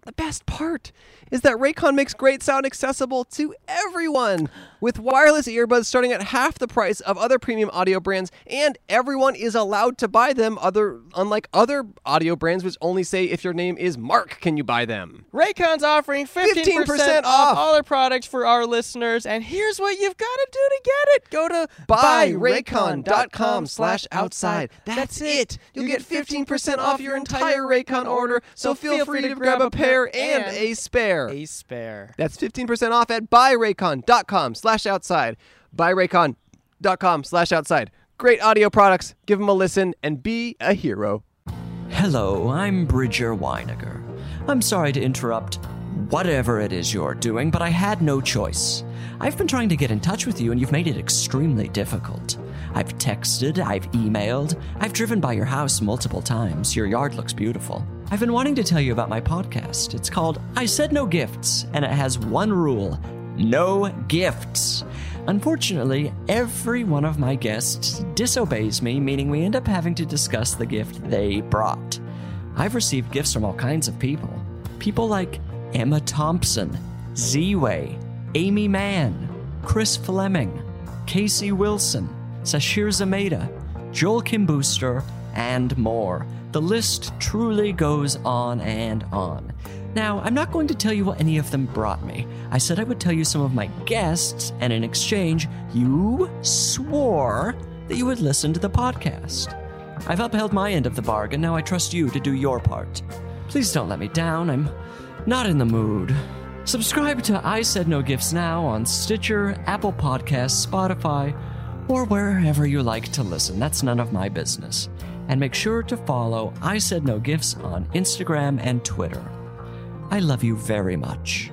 The best part is that Raycon makes great sound accessible to everyone with wireless earbuds starting at half the price of other premium audio brands and everyone is allowed to buy them other unlike other audio brands which only say if your name is Mark can you buy them.
Raycon's offering 15%,
15%
off
off.
all their products for our listeners, and here's what you've got to do to get it. Go to
buyraycon.com slash outside. That's it. You get 15% off your entire Raycon order, so feel free to grab a pair and a spare.
a spare.
That's 15% off at buyraycon.com slash outside. Buyraycon.com slash outside. Great audio products. Give them a listen and be a hero.
Hello, I'm Bridger Weiniger. I'm sorry to interrupt whatever it is you're doing, but I had no choice. I've been trying to get in touch with you, and you've made it extremely difficult. I've texted, I've emailed, I've driven by your house multiple times. Your yard looks beautiful. I've been wanting to tell you about my podcast. It's called I Said No Gifts, and it has one rule no gifts. Unfortunately, every one of my guests disobeys me, meaning we end up having to discuss the gift they brought. I've received gifts from all kinds of people. People like Emma Thompson, Z Way, Amy Mann, Chris Fleming, Casey Wilson, Sashir Zameda, Joel Kim Booster, and more. The list truly goes on and on. Now, I'm not going to tell you what any of them brought me. I said I would tell you some of my guests, and in exchange, you swore that you would listen to the podcast. I've upheld my end of the bargain, now I trust you to do your part. Please don't let me down, I'm not in the mood. Subscribe to I Said No Gifts Now on Stitcher, Apple Podcasts, Spotify, or wherever you like to listen. That's none of my business. And make sure to follow I Said No Gifts on Instagram and Twitter. I love you very much.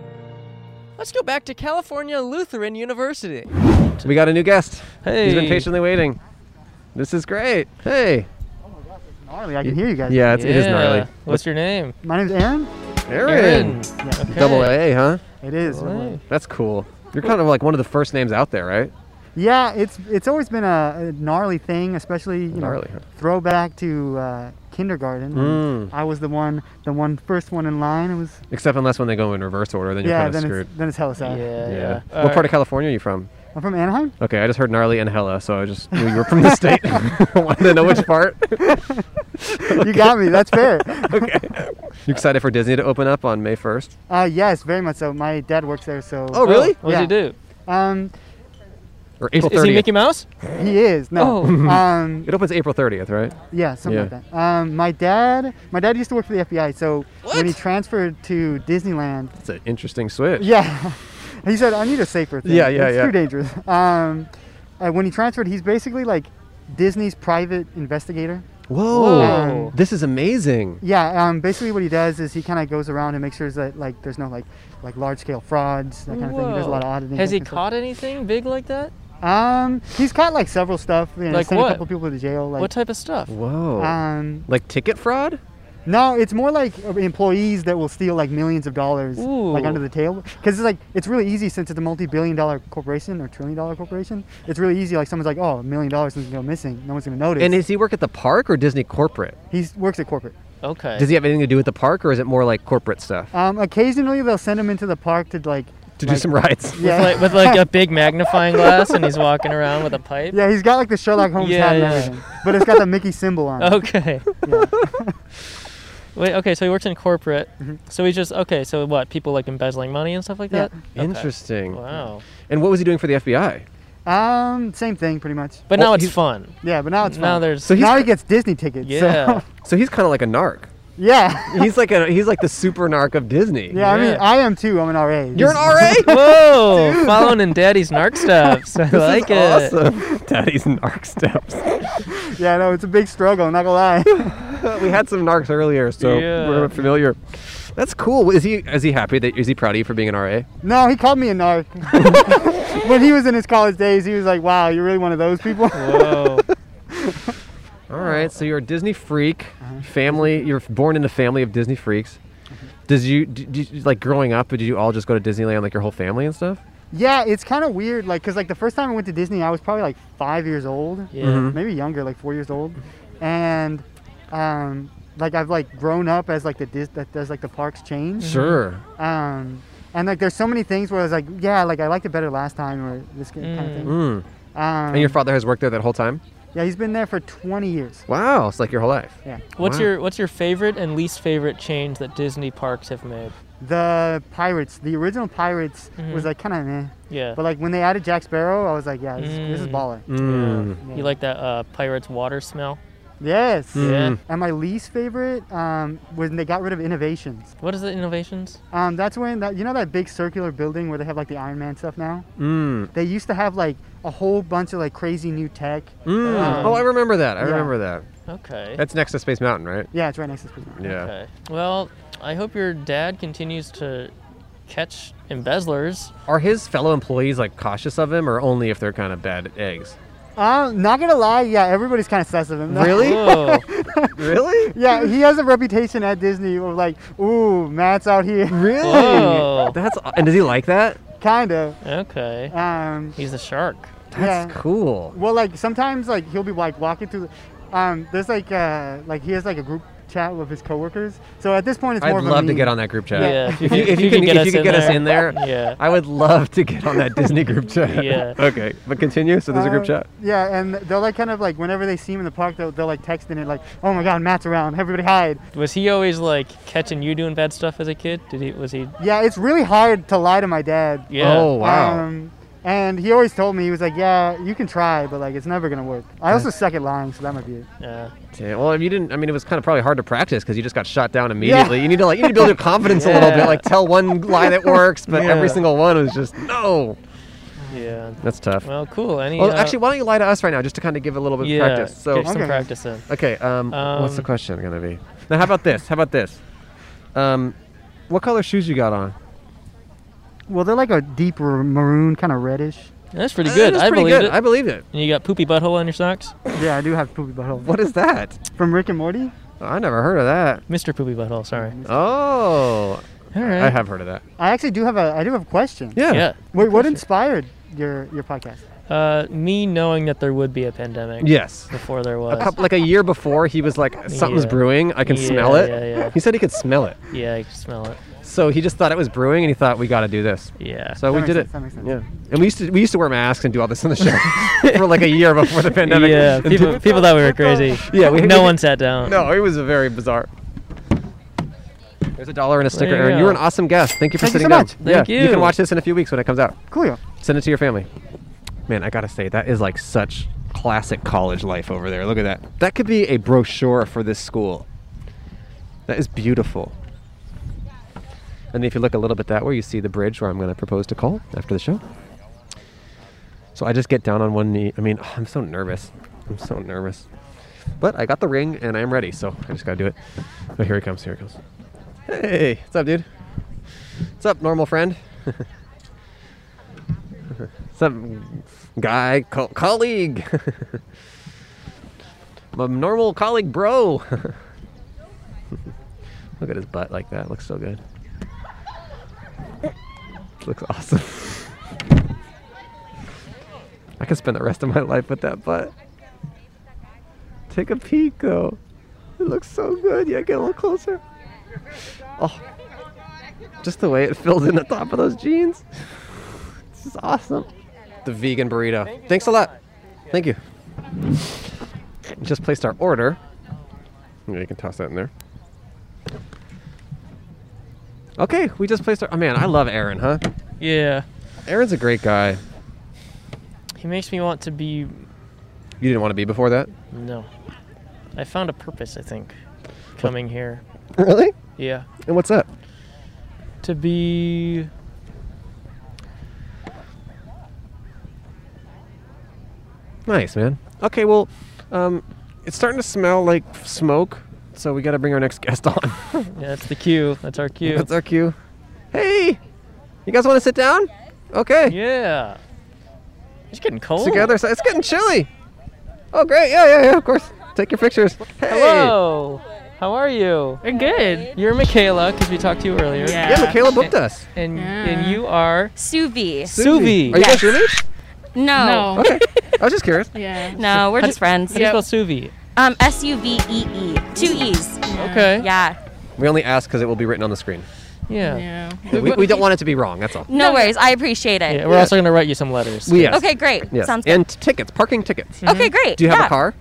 Let's go back to California Lutheran University.
We got a new guest. He's
Hey.
been patiently waiting. This is great. Hey.
gnarly. I can hear you guys.
Yeah, it's, it is gnarly.
Yeah. What's your name?
My name's Aaron.
Aaron.
Yeah.
Double A, huh?
It is. double A.
That's cool. You're kind of like one of the first names out there, right?
Yeah, it's it's always been a, a gnarly thing, especially you
Gnarly, huh?
know throwback to uh, kindergarten. when
Mm.
I was the one, the one first one in line. It was
Except unless when they go in reverse order, then you're
yeah.
kind of
Then
screwed.
it's then it's hella sad.
Yeah. What part of California are you from?
I'm from Anaheim.
Okay, I just heard gnarly and hella, so I just knew you were from the state. Wanted to know which part.
You got me. That's fair.
okay. You excited for Disney to open up on May 1st?
Oh,
Uh, yes, very much so. My dad works there, so.
Oh, really?
What does he do?
Um,
or April 30th.
Is he Mickey Mouse? Oh.
He is. No. Um,
it opens April 30th, right?
Yeah, something like that. Um, my dad, my dad used to work for the FBI, so when he transferred to Disneyland,
It's an interesting switch.
yeah, he said, "I need a safer thing.
Yeah, yeah,
it's
yeah.
too dangerous." Um, uh, when he transferred, he's basically like Disney's private investigator.
Whoa.
Um,
This is amazing.
yeah, um, basically what he does is he kind of goes around and makes sure that like there's no like like large scale frauds that kind of thing. There's a lot of auditing.
Has he
and stuff.
caught anything big like that?
Um, he's caught like several stuff. You know,
Like
sent
what?
A couple people to jail. Like
what type of stuff?
Whoa.
Um,
like ticket fraud?
No, it's more like uh, employees that will steal like millions of dollars, like
Ooh.
under the table. Because it's like it's really easy since it's a multi-billion-dollar corporation or trillion-dollar corporation. It's really easy. Like someone's like, oh, a million dollars is gonna go missing. No one's gonna notice.
And does he work at the park or Disney corporate?
he works at corporate.
Okay.
Does he have anything to do with the park or is it more like corporate stuff?
Um, occasionally they'll send him into the park to like.
To do some rides.
Yeah.
With, like, with like a big magnifying glass, and he's walking around with a pipe.
Yeah, he's got like the Sherlock Holmes
Yeah,
hat and
yeah.
everything, but it's got the Mickey symbol on. it.
Okay. Wait. Okay. So he works in corporate. So he's just okay. So what? People like embezzling money and stuff like
Mm-hmm. Yeah.
that. Okay.
Interesting.
Wow.
And what was he doing for the FBI?
Um, same thing pretty much.
But now it's fun.
Yeah, but now it's
Now
fun.
there's-
So he's-
now he gets Disney tickets. so-
So, he's kind of like a narc.
yeah.
He's like a he's like the super narc of Disney.
Yeah, I mean, I am too. I'm an RA.
You're an RA?
Whoa! Following in Daddy's narc steps. I like it.
awesome. Daddy's narc steps.
yeah, no, it's a big struggle. I'm not gonna lie.
we had some narcs earlier, so
Yeah.
we're familiar. That's cool. Is he is he happy that is he proud of you for being an RA?
no, he called me a narc. when he was in his college days, he was like, "Wow, you're really one of those people."
Whoa.
All right, so you're a Disney freak, family. You're born in a family of Disney freaks. Does you, d d- like growing up? Did you all just go to Disneyland like your whole family and stuff?
yeah, it's kind of weird, like, cause like the first time I went to Disney, I was probably like five years old,
Yeah. Mhm.
maybe younger, like four years old, and um, like I've like grown up as like the Dis- that does like the parks change.
Mm-hmm. Sure.
Um, and like there's so many things where I was like, yeah, like I liked it better last time or this kind of thing. Um,
Mm. and your father has worked there that whole time.
Yeah, he's been there for 20 years.
Wow, it's like your whole life.
Yeah.
What's
Wow.
your What's your favorite and least favorite change that Disney parks have made?
The Pirates, the original Pirates was
Mhm.
like kind of meh.
Yeah.
But like when they added Jack Sparrow, I was like, yeah, this, is this is
Mm.
baller.
Mm.
Yeah.
You like that uh, pirate's water smell?
Yes.
Hmm.
Yeah.
And my least favorite um, when they got rid of Innovations.
What is the innovations?
Um, that's when that you know that big circular building where they have like the Iron Man stuff now.
Mm.
They used to have like a whole bunch of like crazy new tech.
Mm.
Um,
oh, I remember that. I
yeah.
remember that.
Okay.
That's next to Space Mountain, right?
Yeah, it's right next to Space Mountain.
Yeah.
Okay. Well, I hope your dad continues to catch embezzlers.
Are his fellow employees like cautious of him, or only if they're kind of bad eggs?
Um, not gonna lie, yeah, everybody's kind of sus of him.
Really? Whoa. Really?
yeah, he has a reputation at Disney of like, ooh, Matt's out here. Really?
Whoa.
That's and does he like that?
kind of.
Okay.
Um,
He's a shark.
yeah.
That's cool.
Well, like sometimes like he'll be like walking through. Um, there's like uh, like he has like a group chat with his coworkers. So at this point, it's
I'd
more. of a
love to
meme.
get on that group chat.
Yeah,
If you, if you, can, if you could get us in there,
Yeah.
I would love to get on that Disney group chat.
Yeah.
okay, but continue. So there's a group
Uh,
chat.
Yeah, and they'll like kind of like whenever they see him in the park, they'll, they'll like text in it like, "Oh my God, Matt's around! Everybody hide!"
Was he always like catching you doing bad stuff as a kid? Did he? Was he?
Yeah, it's really hard to lie to my dad.
Yeah. Oh,
wow.
Um, and he always told me he was like, "Yeah, you can try, but like it's never gonna work." I also suck at lying, so that might be it.
Yeah.
Damn, well, if you didn't, I mean, it was kind of probably hard to practice because you just got shot down immediately.
Yeah.
You need to like, you need to build your confidence a little
Yeah.
bit. Like, tell one lie that works, but every
Yeah.
single one was just no.
Yeah.
That's tough.
Well, cool. Any?
well,
uh,
actually, why don't you lie to us right now, just to kind of give a little bit
Yeah,
of practice? So
get some Okay. practice in.
Okay. Um, what's the
Um,
question gonna be? Now, how about this? How about this? Um, what color shoes you got on?
Well, they're like a deep r- maroon, kind of reddish.
that's pretty
Uh,
good.
that's
I
pretty
believed
good.
it.
I believed it.
And you got poopy butthole on your socks?
Yeah, I do have poopy butthole.
What is that?
From Rick and Morty?
I never heard of that.
Mr. Poopy Butthole. Sorry.
Oh.
All right.
I have heard of that.
I actually do have a I do have a question.
Yeah.
Yeah.
Wait, what inspired your your podcast?
Uh, me knowing that there would be a pandemic.
Yes.
Before there
A
was.
couple, like a year before, he was like, "Something's
Yeah.
brewing. I can
Yeah,
smell it."
yeah, yeah.
He said he could smell it.
yeah, I can smell it.
So he just thought it was brewing, and he thought we got to do this.
Yeah.
So
That
we
makes
did
sense,
it.
that makes sense.
Yeah. And we used to we used to wear masks and do all this on the show for like a year before the pandemic.
Yeah,
And
people,
did-
people thought we were crazy.
Yeah, we-
no
we-
one sat down.
No, it was a very bizarre. There's a dollar and a sticker,
There you
Aaron. You were an
go.
awesome guest. Thank you for
Thank you
sitting
so
down.
much.
Yeah,
Thank
can
you.
watch this in a few weeks when it comes out.
Cool.
Send it to your family. Man, I gotta say that is like such classic college life over there. Look at that. That could be a brochure for this school. That is beautiful. And if you look a little bit that way, you see the bridge where I'm going to propose to Cole after the show. So I just get down on one knee. I mean, I'm so nervous. I'm so nervous. But I got the ring and I'm ready, so I just got to do it. Oh, here he comes. Here he comes. Hey, what's up, dude? What's up, normal friend? Some guy, co- colleague. My normal colleague, bro. Look at his butt like that. Looks so good. Looks awesome. I could spend the rest of my life with that butt. Take a peek though. It looks so good. Yeah, get a little closer. Oh, just the way it fills in the top of those jeans. this is awesome. The vegan burrito. Thanks a lot. Thank you. Just placed our order. Yeah, you can toss that in there. Okay, we just placed our. Oh man, I love Aaron, huh?
Yeah.
Aaron's a great guy.
He makes me want to be.
You didn't want to be before that?
No. I found a purpose, I think, coming here.
Really?
Yeah.
And what's up?
To be.
Nice, man. Okay, well, um, it's starting to smell like smoke, so we got to bring our next guest on.
Yeah, that's the cue. That's our cue.
That's our cue. Hey, you guys want to sit down? Okay.
Yeah. It's getting cold.
Together, so it's getting chilly. Oh, great. Yeah, yeah, yeah. Of course. Take your pictures. Hey.
Hello. How are you?
We're good.
You're Michaela, because we talked to you earlier.
Yeah. Yeah, Michaela
booked us.
And and you are
Suvi.
Suvi.
Are you guys roommates?
No.
No. Okay. I was just curious.
Yeah. No, we're
How
just
do-
friends.
How do you spell Suvi?
Um, S U V E E. Two E's.
Okay.
Yeah.
We only ask because it will be written on the screen.
Yeah.
We, we don't want it to be wrong. That's all.
No worries. I appreciate it.
Yeah, we're also going to write you some letters.
We yes.
Okay, great.
Yes.
Sounds good. Mm-hmm.
and tickets, parking tickets.
Okay, great.
Do you have
Yeah.
a car?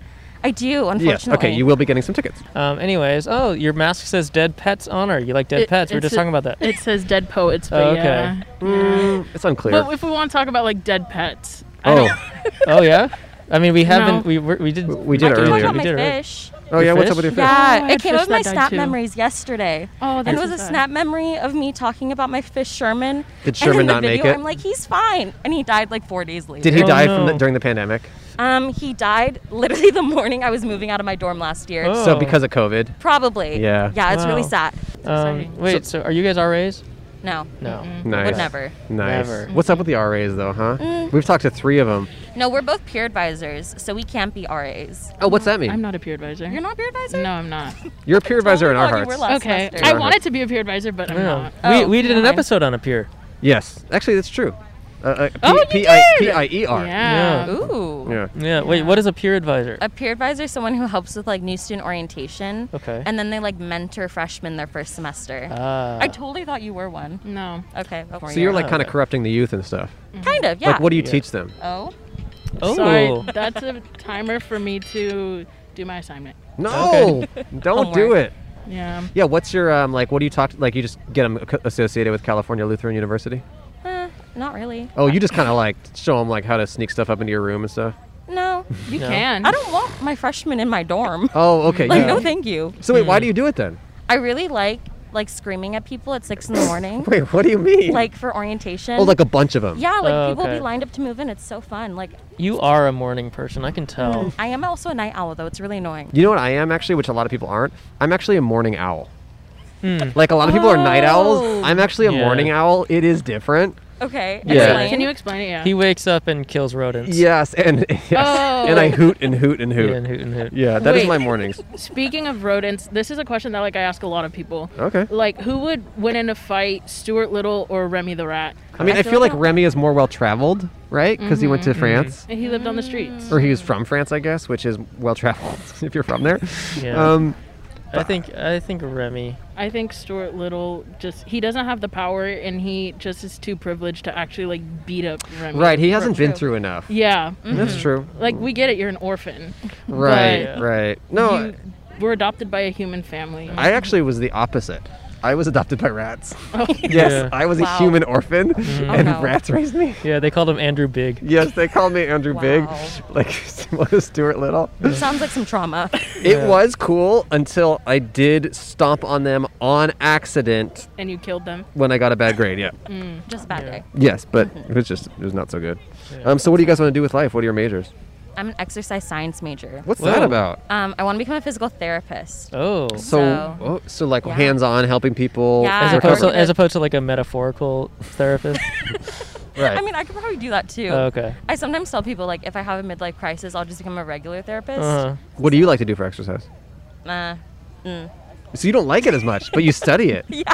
I do,
Yes.
unfortunately.
Okay, you will be getting some tickets.
Um, anyways, oh, your mask says "Dead Pets Honor." You like dead
It-
pets? We We're
it's
just
a-
talking about that.
it says dead poets,
but Oh, okay. yeah.
Mm,
it's unclear.
But if we want to talk about like dead pets,
oh, oh yeah. I we haven't.
No.
We were- we did.
We did
I can
earlier.
talk about
We
my
did earlier.
fish.
Oh, yeah, what's up with your fish?
Yeah,
Oh, I
it
had
came
fish
up with my
that died
snap
too.
memories yesterday. Oh,
that's
and it was
so
a
sad.
snap memory of me talking about my fish Sherman.
Did
and in
Sherman
the
not
video,
make it?
I'm like, he's fine, and he died like four days later.
Did
Oh,
he die from the, during the pandemic?
Um, he died literally the morning I was moving out of my dorm last year.
So because of COVID.
Probably.
Yeah.
Yeah, it's really
Wow.
sad.
Um, wait. So, are you guys RAs?
No.
No.
Nice.
Would never.
Nice.
Oh. Never.
What's up with the RAs though, huh?
Mm.
We've talked to three of them.
No, we're both peer advisors, so we can't be RAs.
Oh, what's that mean?
not a peer advisor. You're not a peer advisor? No, I'm not.
You're a peer advisor in our
thought you
hearts. Oh.
were last
Okay.
semester.
I
Uh-huh.
wanted to be a peer advisor, but I'm
Yeah.
not.
we we did an episode on a peer.
Yes, actually that's true. Uh, uh, P-
Oh, you
P- I-
did!
P-I-E-R.
Yeah. Ooh.
Yeah.
Yeah. Wait. What is a peer advisor?
A peer advisor is someone who helps with like new student orientation.
Okay.
And then they like mentor freshmen their first semester.
Ah.
I totally thought you were one. No. Okay. well,
So you're like kind of corrupting the youth and stuff.
Mm-hmm.
Mm.
Kind of, yeah.
Like what do you teach them?
Oh.
Oh.
Sorry, that's a timer for me to do my assignment.
No, don't do it.
Yeah.
Yeah. What's your um like? What do you talk like? You just get them associated with California Lutheran University?
Eh, not really.
Oh, you just kind of like show them like how to sneak stuff up into your room and stuff.
No.
You No. can.
I don't want my freshmen in my dorm.
Oh, okay.
like
yeah.
no, thank you. Hmm. Mm.
So wait, why do you do it then?
I really like like screaming at people at six in the morning.
Wait, what do you mean?
Like for orientation.
Oh, like a bunch of 'em.
Yeah, like
Oh,
people will
okay.
be lined up to move in. It's so fun. Like mm,
You are a morning person. I can tell.
I am also a night owl though. It's really annoying.
You know what I am actually, which a lot of people aren't. I'm actually a morning owl. Like a lot of people are night owls.
Hmm. Oh.
I'm actually a
Yeah.
morning owl. It is different.
Okay.
Yeah.
explain.
Can you explain it? Yeah.
He wakes up and kills rodents.
Yes, and yes, and I
Oh.
hoot and hoot and hoot.
Yeah, and hoot and hoot.
Yeah, that is
Wait.
my mornings.
Speaking of rodents, this is a question that like I ask a lot of people.
Okay.
Like, who would win in a fight, Stuart Little or Remy the Rat?
I mean, I feel like Remy is more well traveled, right? Because he went to
Mm-hmm.
Mhm.
France.
And he lived on the streets.
or he was from France, I guess, which is well traveled if you're from there.
Yeah.
Um,
I think I think Remy.
I think Stuart Little just he doesn't have the power and he just is too privileged to actually like beat up Remy.
Right, he hasn't been through enough.
Yeah.
That's
Mhm.
true.
Like we get it, you're an orphan.
right,
but
right. No,
you were adopted by a human family.
I actually was the opposite. I was adopted by rats.
Oh.
Yes,
Yeah.
I was
Wow.
a human orphan,
Mhm. Oh,
and
no.
rats raised me.
Mm. Yeah, they called him Andrew Big.
Yes, they called me Andrew Big, like similar to Stuart Little.
Sounds like some trauma.
It was cool until I did stomp on them on accident
And you killed them.
when I got a bad grade. Yeah.
Mm, just a bad day.
Yes, but it was just it was not so good. Um, so what do you guys want to do with life? What are your majors?
I'm an exercise science major.
What's that Whoa. about?
Um, I want to become a physical therapist.
Oh,
So oh, so like
yeah.
hands-on helping people
Yeah,
as
I
opposed to
work at
as
a-
opposed to like a metaphorical therapist.
I mean, I could probably do that too.
Oh, okay.
I sometimes tell people like if I have a midlife crisis, I'll just become a regular therapist.
Uh-huh. What do you like to do for exercise?
Uh, mm.
So you don't like it as much, but you study it.
Yeah.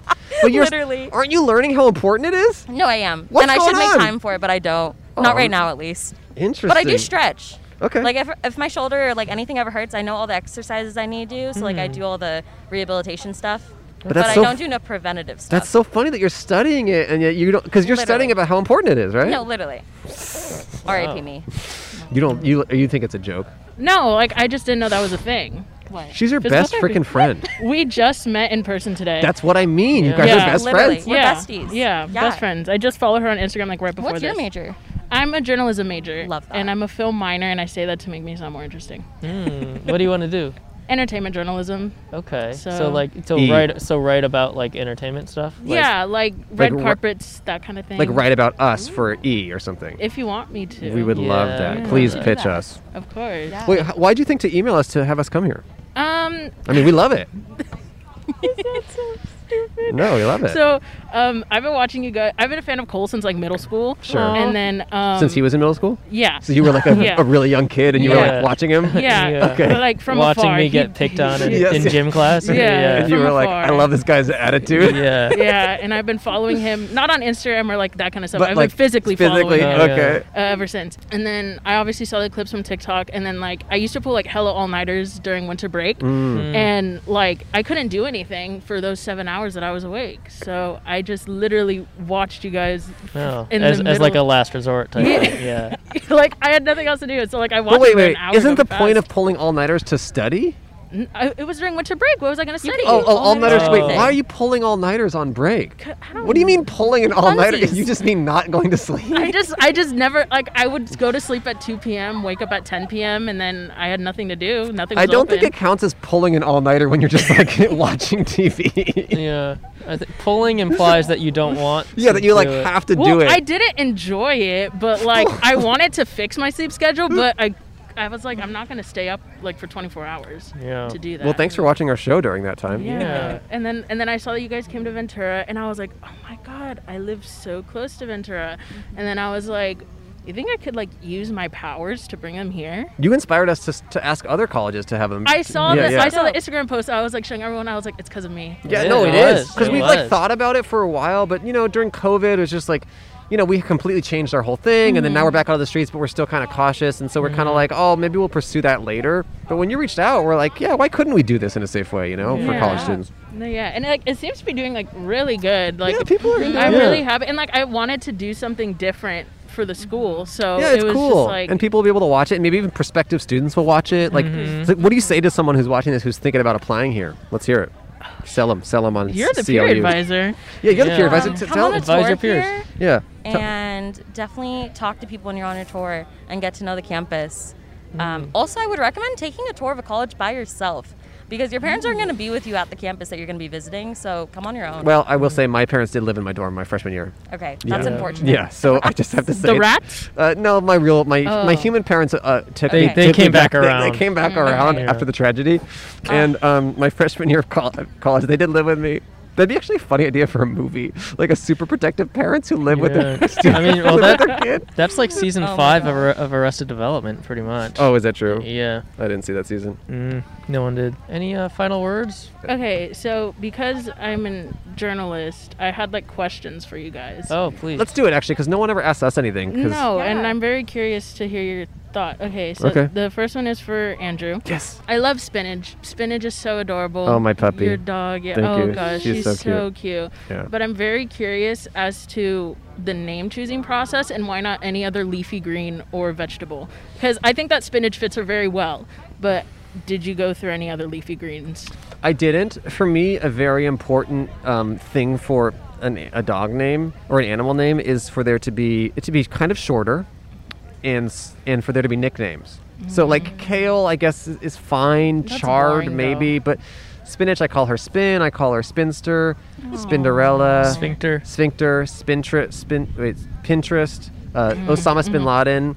But you're-
literally.
Aren't you learning how important it is?
No, I am.
What's
and I
going
should make
on?
time for it, but I don't.
Oh,
Not right now, at least. But I do
interesting.
stretch.
Okay.
Like if, if my shoulder or like anything ever hurts, I know all the exercises I need to do. So like I
Hmm.
do all the rehabilitation stuff.
But that's
I
so
don't
f-
do no preventative stuff.
That's so funny that you're studying it and yet you don't because you're studying
Literally.
about how important it is, right?
No, literally. R.I.P. me.
You don't you you think it's a joke?
No, like I just didn't know that was a thing.
What?
She's your
Physical
best
therapy.
freaking friend.
We just met in person today.
That's what I mean. You guys are best friends.
We're
yeah.
besties.
Yeah,
Yeah.
best friends. I just follow her on Instagram like right before
What's your
this.
major?
I'm a journalism major.
Love that.
And I'm a film minor, and I say that to make me sound more interesting.
Hmm, what do you want to do?
Entertainment journalism.
Okay. So,
So-
like so
E.
write so write about like entertainment stuff. Like,
yeah, like red
ri-
carpets, that kind of thing.
Like write about us for E or something.
If you want me to.
We would love
Yeah,
that.
we would
Please
love
pitch
that.
us.
Of course.
Wait, h- why'd you think to email us to have us come here?
Um,
I mean, we love it.
that's so stupid.
No, we love it.
So, um, I've been watching you guys. I've been a fan of Cole since like middle school.
Sure. Aw.
And then um,
Since he was in middle school?
yeah.
So you were like a,
Yeah.
a really young kid and you were
Yeah.
like watching him?
Yeah.
Okay.
Like from
watching
afar.
me
he-
get picked on in,
Yes,
in
yeah.
gym class.
Yeah,
and you
from
were like,
afar.
I love this guy's attitude.
Yeah.
yeah, and I've been following him not on Instagram or like that kind of stuff.
But,
I've
like,
been physically,
physically,
following him
okay.
uh, ever since. And then I obviously saw the clips from TikTok, and then like I used to pull like hella all nighters during winter break,
Mm. Mm.
and like I couldn't do anything for those seven hours that I was awake. So I just literally watched you guys
Oh,
in
as,
the
as like a
middle-
last resort type.
Yeah.
thing, yeah.
like I had nothing else to do. So like I watched.
But wait,
it for an
wait.
hour
Isn't
go
the point
fast.
of pulling all nighters to study?
N- I- it was during winter break. What was I gonna study?
Oh, oh all nighters. Wait,
everything.
why are you pulling all nighters on break? What do you mean pulling an all nighter?
Funsies.
You just mean not going to sleep.
I just I just never like I would go to sleep at 2 p.m. wake up at 10 p.m. and then I had nothing to do. Nothing. Was
I don't
open.
think it counts as pulling an all nighter when you're just like watching TV.
yeah. I think pulling implies that you don't want.
Yeah,
to
that you, like,
do it.
have to
well, I didn't enjoy it, but like I wanted to fix my sleep schedule, but I I was like I'm not gonna stay up like for 24 hours
Yeah.
to do that.
Well, thanks for watching our show during that time.
Yeah. And then and then I saw that you guys came to Ventura and I was like, "Oh my god, I live so close to Ventura."
Mm-hmm.
And then I was like, "You think I could like use my powers to bring them here?"
You inspired us to, s- to ask other colleges to have them.
I saw
yeah,
the
Yeah.
I saw the Instagram post. I was like showing everyone. I was like, "It's because of me."
Yeah, no, it is because we like thought about it for a while, but you know, during COVID, it was just like, you know, we completely changed our whole thing, and then now we're
Mm-hmm.
back out of the streets, but we're still kind of cautious, and so we're kind of like, oh, maybe we'll pursue that later. But when you reached out, we're like, yeah, why couldn't we do this in a safe way, you know, Oh, for college students?
No, yeah, and like it seems to be doing like really good. Like
people are into
I'm
it.
really
Yeah.
happy, and like I wanted to do something different for the school, so
yeah, it's
it was
cool,
just like
and people will be able to watch it, and maybe even prospective students will watch it. Like,
Mhm.
it's like, what do you say to someone who's watching this who's thinking about applying here? Let's hear it. Sell them, sell them on.
you're the peer
CLU.
advisor.
Yeah, you're the peer advisor.
Um,
T-
come
tell
on a tour here
Yeah. Tell-
And definitely talk to people when you're on a tour and get to know the campus.
Hmm.
Um, also, I would recommend taking a tour of a college by yourself because your parents aren't going to be with you at the campus that you're going to be visiting. So come on your own.
Well, I will say my parents did live in my dorm my freshman year.
Okay, that's
yeah.
unfortunate.
Yeah, so I just have to say
rats?
Uh, no, my real my my
Oh. Mm-hmm.
human parents uh, took
They-
me-
they
took me
came back
they- They,
around.
came back
Mm.
around
Yeah.
after the tragedy,
Ah.
and um, my freshman year of col- college, they did live with me. That'd be actually a funny idea for a movie, like a super protective parents who live with their
Yeah. I mean, well,
live with
that, that's like season
Oh my
five of, Ar- of Arrested Development, pretty much.
Oh, is that true?
Yeah.
I didn't see that season.
Mm, no one did. Any uh, final words?
Okay, so because I'm a journalist, I had like questions for you guys.
Oh,
Oh, please.
Let's do it actually, because no one ever asks us anything. 'cause-
No, and I'm very curious to hear your thought. Okay, so
Okay.
the first one is for Andrew.
Yes.
I love spinach. Spinach is so adorable.
Oh, my puppy.
Your dog. Yeah.
Thank
oh
you.
gosh,
She's
she's,
so
so, cute.
cute. Yeah.
But I'm very curious as to the name choosing process and why not any other leafy green or vegetable? Because I think that spinach fits her very well. But did you go through any other leafy greens?
I didn't. For me, a very important um, thing for an, a dog name or an animal name is for there to be it to be kind of shorter, and s- and for there to be nicknames. So like Kale, I guess is, is fine.
That's
Chard
boring,
maybe, but Spinach, I call her Spin. I call her Spinster, Spinderella,
Sphincter,
Sphincter, Spintre, Spin. Wait, Pinterest. Uh,
Mhm.
Osama bin
Mhm.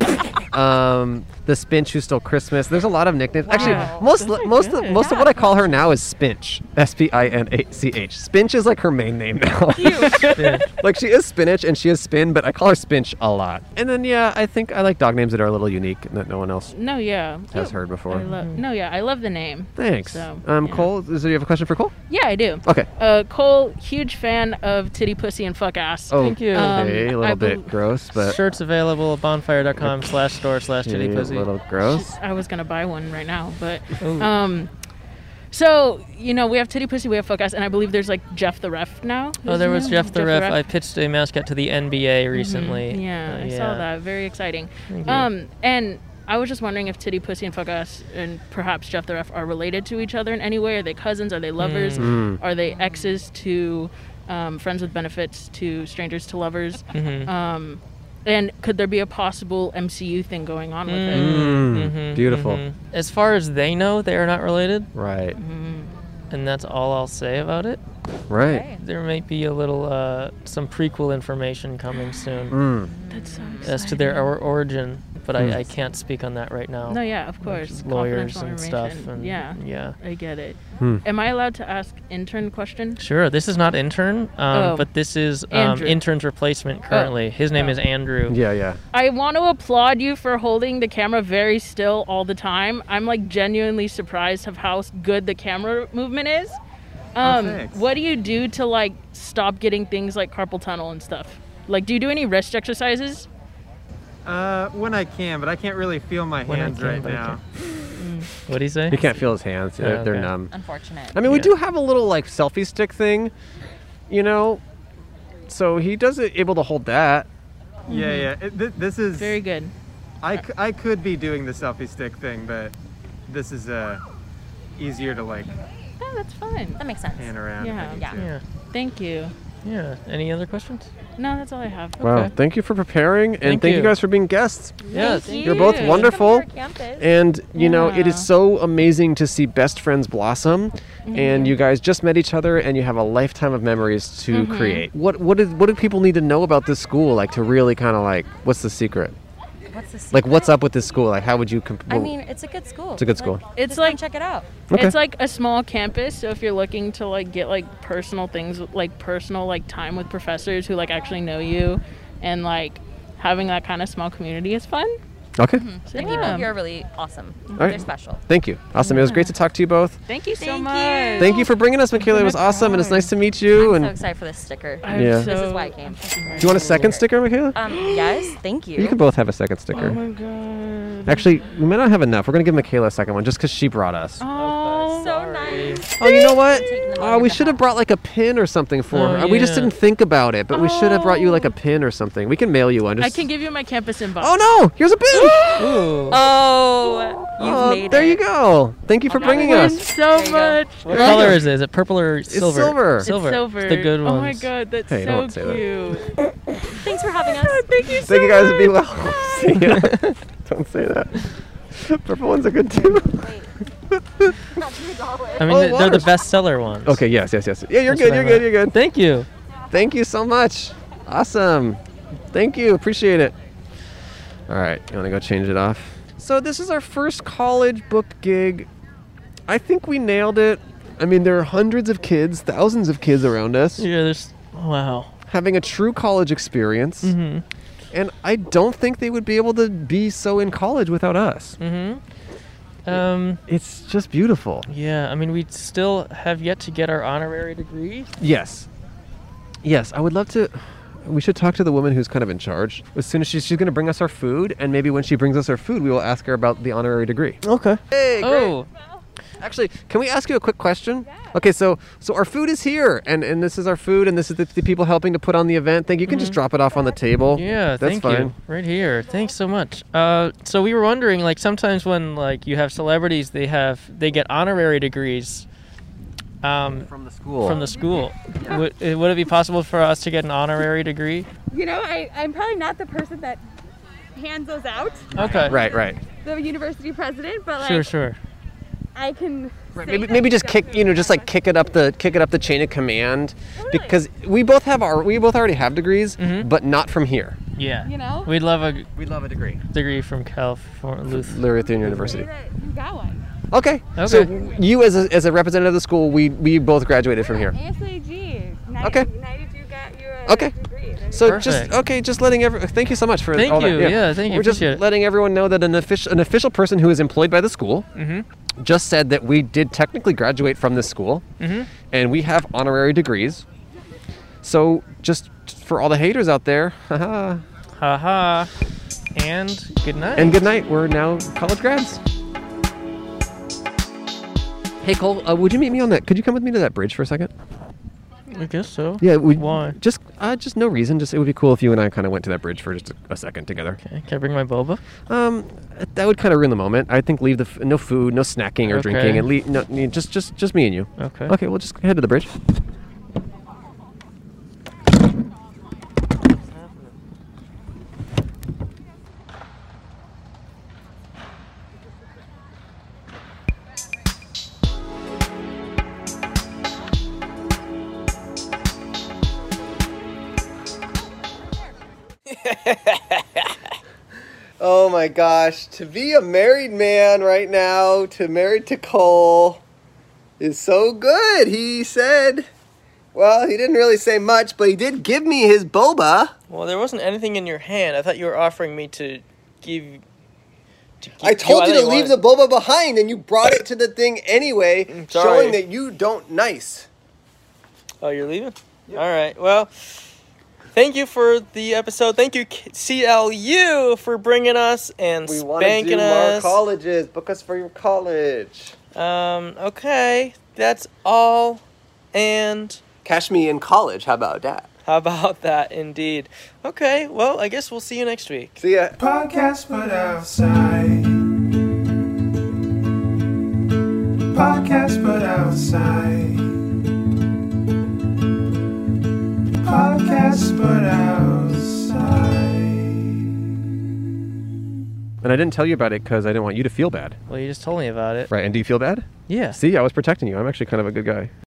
Laden, um, the Spinch who stole Christmas. There's a lot of nicknames.
Wow.
Actually, most most of, most of what I call her now is Spinch. S P I N A C H. Spinch is like her main name now. like she is Spinach and she is Spin, but I call her Spinch a lot. And then yeah, I think I like dog names that are a little unique and that no one else
No, yeah.
has
Cute.
heard before.
I lo- no, yeah, I love the name.
Thanks.
So,
um, Cole, is there, you have a question for Cole?
yeah, I do.
Okay.
Uh, Cole, huge fan of titty, pussy, and fuck ass. Um,
Oh, Okay, a
I
little
bel-
bit gross, but
Shirts available at bonfire.com slash store slash
Okay,
titty
a
pussy.
little gross.
I was gonna buy one right now, but
Ooh.
um, so you know we have titty pussy, we have fuck ass, and I believe there's like Jeff the ref now.
Oh, there was
Isn't
Jeff the
there?
Ref. I pitched a mascot to the NBA recently.
Mhm. Yeah,
Uh,
I saw that. Very exciting.
Thank you.
Um, and I was just wondering if Titty Pussy and Fuck Us and perhaps Jeff the Ref are related to each other in any way. Are they cousins? Are they lovers?
Mm. Mm.
Are they exes to um, friends with benefits to strangers to lovers?
Mhm.
Um, and could there be a possible MCU thing going on with
Mm.
it?
Mhm,
Mm. beautiful.
mhm. As far as they know, they are not related. Mm-hmm.
Right.
And that's all I'll say about it.
Right. Okay.
There might be a little, uh, some prequel information coming soon.
Mm.
That's so
As to their or- origin, but
Mm.
I, I can't speak on that right now.
No, yeah, of
Like,
course.
Lawyers
Confidential
and stuff.
information.
And
yeah.
Yeah.
I get it.
Hmm.
Am I allowed to ask intern question?
Sure. This is not intern, um,
Oh.
but this is um,
Andrew.
intern's replacement currently. His name
Oh.
is Andrew.
Yeah, yeah.
I want to applaud you for holding the camera very still all the time. I'm like genuinely surprised of how good the camera movement is. Um,
thanks.
what do you do to like stop getting things like carpal tunnel and stuff? Like, do you do any wrist exercises?
Uh, when I can, but I can't really feel my
When I
hands
can,
right
but I
now.
What do you say?
You can't feel his hands. They're,
Oh,
they're
okay.
numb.
Unfortunate.
I mean, we
Yeah.
do have a little like selfie stick thing, you know. So he does it able to hold that.
Yeah,
Mhm.
yeah. It, th- this is
very good.
I, c- I could be doing the selfie stick thing, but this is uh easier to like
Yeah, Oh, that's fine.
That makes sense.
hand around. if I
Yeah.
need
Yeah.
to.
Thank you.
Yeah. Any other questions?
No, that's all I have.
Wow. Thank you for preparing and
Thank
thank, you.
you.
guys for being guests.
Yes. Thank
You're
you.
both
Thank you.
wonderful.
Welcome to our campus.
And, you know, it
Yeah.
is so amazing to see best friends blossom. And
Mhm.
you guys just met each other and you have a lifetime of memories to
Mhm.
create. What what did what do people need to know about this school like to really kind of like what's the secret?
What's the
Like what's up with this school? Like how would you comp-
I mean, it's a good school.
It's a good
Like,
school.
It's
just
like
come check it out.
Okay.
It's like a small campus, so if you're looking to like get like personal things, like personal like time with professors who like actually know you, and like having that kind of small community is fun.
Okay.
So,
The people
yeah.
here are really awesome.
All right.
They're special.
Thank you. Awesome. It was great to talk to you both.
Thank you so
Thank
much.
you.
Thank you for bringing us, Michaela. It was awesome and it's nice to meet you
I'm so
and
excited for this sticker.
I'm Yeah.
This
so
is why I came.
Do you want a second sticker, Michaela?
Um, yes, thank you.
You can both have a second
Oh
Oh
sticker.
god.
Actually, we might not have enough. We're gonna give Michaela a second one just because she brought us.
Oh,
so nice.
Oh, you know what? Oh, we should have brought like a pin or something for
Oh,
her. We just
yeah.
didn't think about it, but we should have brought you like a pin or something. We can mail you one.
I
Just
can give you my campus inbox.
Oh no! Here's a pin.
Oh, you
Oh,
made
there
it. Oh,
you go. Thank you for bringing us.
so much.
What color is it? Is it purple or silver?
silver. It's
Silver.
silver.
It's the good ones.
Oh my god, that's
Hey,
so
don't say that.
cute.
Thanks for having us.
Thank you so
Thank you guys. Be well.
much.
See ya. Don't say that. Purple ones are good too.
I mean,
Oh,
they're- they're the
waters.
bestseller ones.
Okay. Yes. Yes. Yes. Yeah. You're
That's what
good.
I
You're
meant.
good. You're good.
Thank you.
Thank you so much. Awesome. Thank you. Appreciate it. All right. You want to go change it off? So this is our first college book gig. I think we nailed it. I mean, there are hundreds of kids, thousands of kids around us.
Yeah, there's wow.
Having a true college experience.
Mhm.
And I don't think they would be able to be so in college without us.
Mm-hmm. Um,
it's just beautiful.
Yeah, I mean, we still have yet to get our honorary degree.
Yes. Yes, I would love to. We should talk to the woman who's kind of in charge. As soon as she's, she's going to bring us our food, and maybe when she brings us our food, we will ask her about the honorary degree. Okay. Hey, great.
Oh.
Actually, can we ask you a quick question? Okay, so so our food is here, and, and this is our food, and this is the, the people helping to put on the event. Think you
Mm-hmm.
can just drop it off on the table.
Yeah,
that's
thank
fine.
you. Right here. Thanks so much. Uh, so we were wondering, like, sometimes when like you have celebrities, they have they get honorary degrees. Um,
from the school.
From the school. would, uh, would it be possible for us to get an honorary degree?
You know, I, I'm probably not the person that hands those out.
Okay.
Right, right.
The university president, but like
Sure, sure.
I can. say
Maybe,
that
maybe
I've
just
done
kick you know just like kick it up the kick it up the chain of command because we both have our we both already have degrees
Mm-hmm.
but not from here.
Yeah.
You know?
We'd love a
we'd love a degree.
Degree from Cal for Luth.
Lutheran University.
You got one.
Okay.
Okay.
So you as a, as a representative of the school we we both graduated from here.
ASAG.
Okay. Okay. So just
Perfect.
okay, just letting every thank you so much for
Thank
all
you.
that.
Yeah, thank you.
We're just
Appreciate it.
letting everyone know that an official an official person who is employed by the school
Mhm.
just said that we did technically graduate from this school,
Mhm.
and we have honorary degrees. So just for all the haters out there, haha.
Haha. And good night.
And good night. We're now college grads. Hey Cole, uh, would you meet me on that? Could you come with me to that bridge for a second?
I guess so.
Yeah, we
Why?
just uh, just no reason. Just it would be cool if you and I kind of went to that bridge for just a, a second together.
Okay. Can I bring my boba?
Um, that would kind of ruin the moment. I think leave the f- no food, no snacking or drinking,
Okay.
and leave no, ne- just just just me and you.
Okay.
Okay, we'll just head to the bridge.
Oh my gosh, to be a married man right now, to married to Cole, is so good. He said, well, he didn't really say much, but he did give me his boba.
Well, there wasn't anything in your hand. I thought you were offering me to give. To
I
give
told you,
either
to leave the boba behind, and you brought it to the thing anyway,
sorry.
showing that you don't nice.
Oh, you're leaving? All right. Well, thank you for the episode. Thank you, K- CLU, for bringing us and
We want to do
spanking
more
us.
colleges. Book us for your college.
Um, okay. That's all. And.
Cash me in college. How about that?
How about that, indeed? Okay. Well, I guess we'll see you next week.
See ya.
Podcast but outside. Podcast but outside. Podcast but outside.
And I didn't tell you about it because I didn't want you to feel bad.
Well, you just told me about it.
Right. And do you feel bad?
Yeah.
See, I was protecting you. I'm actually kind of a good guy.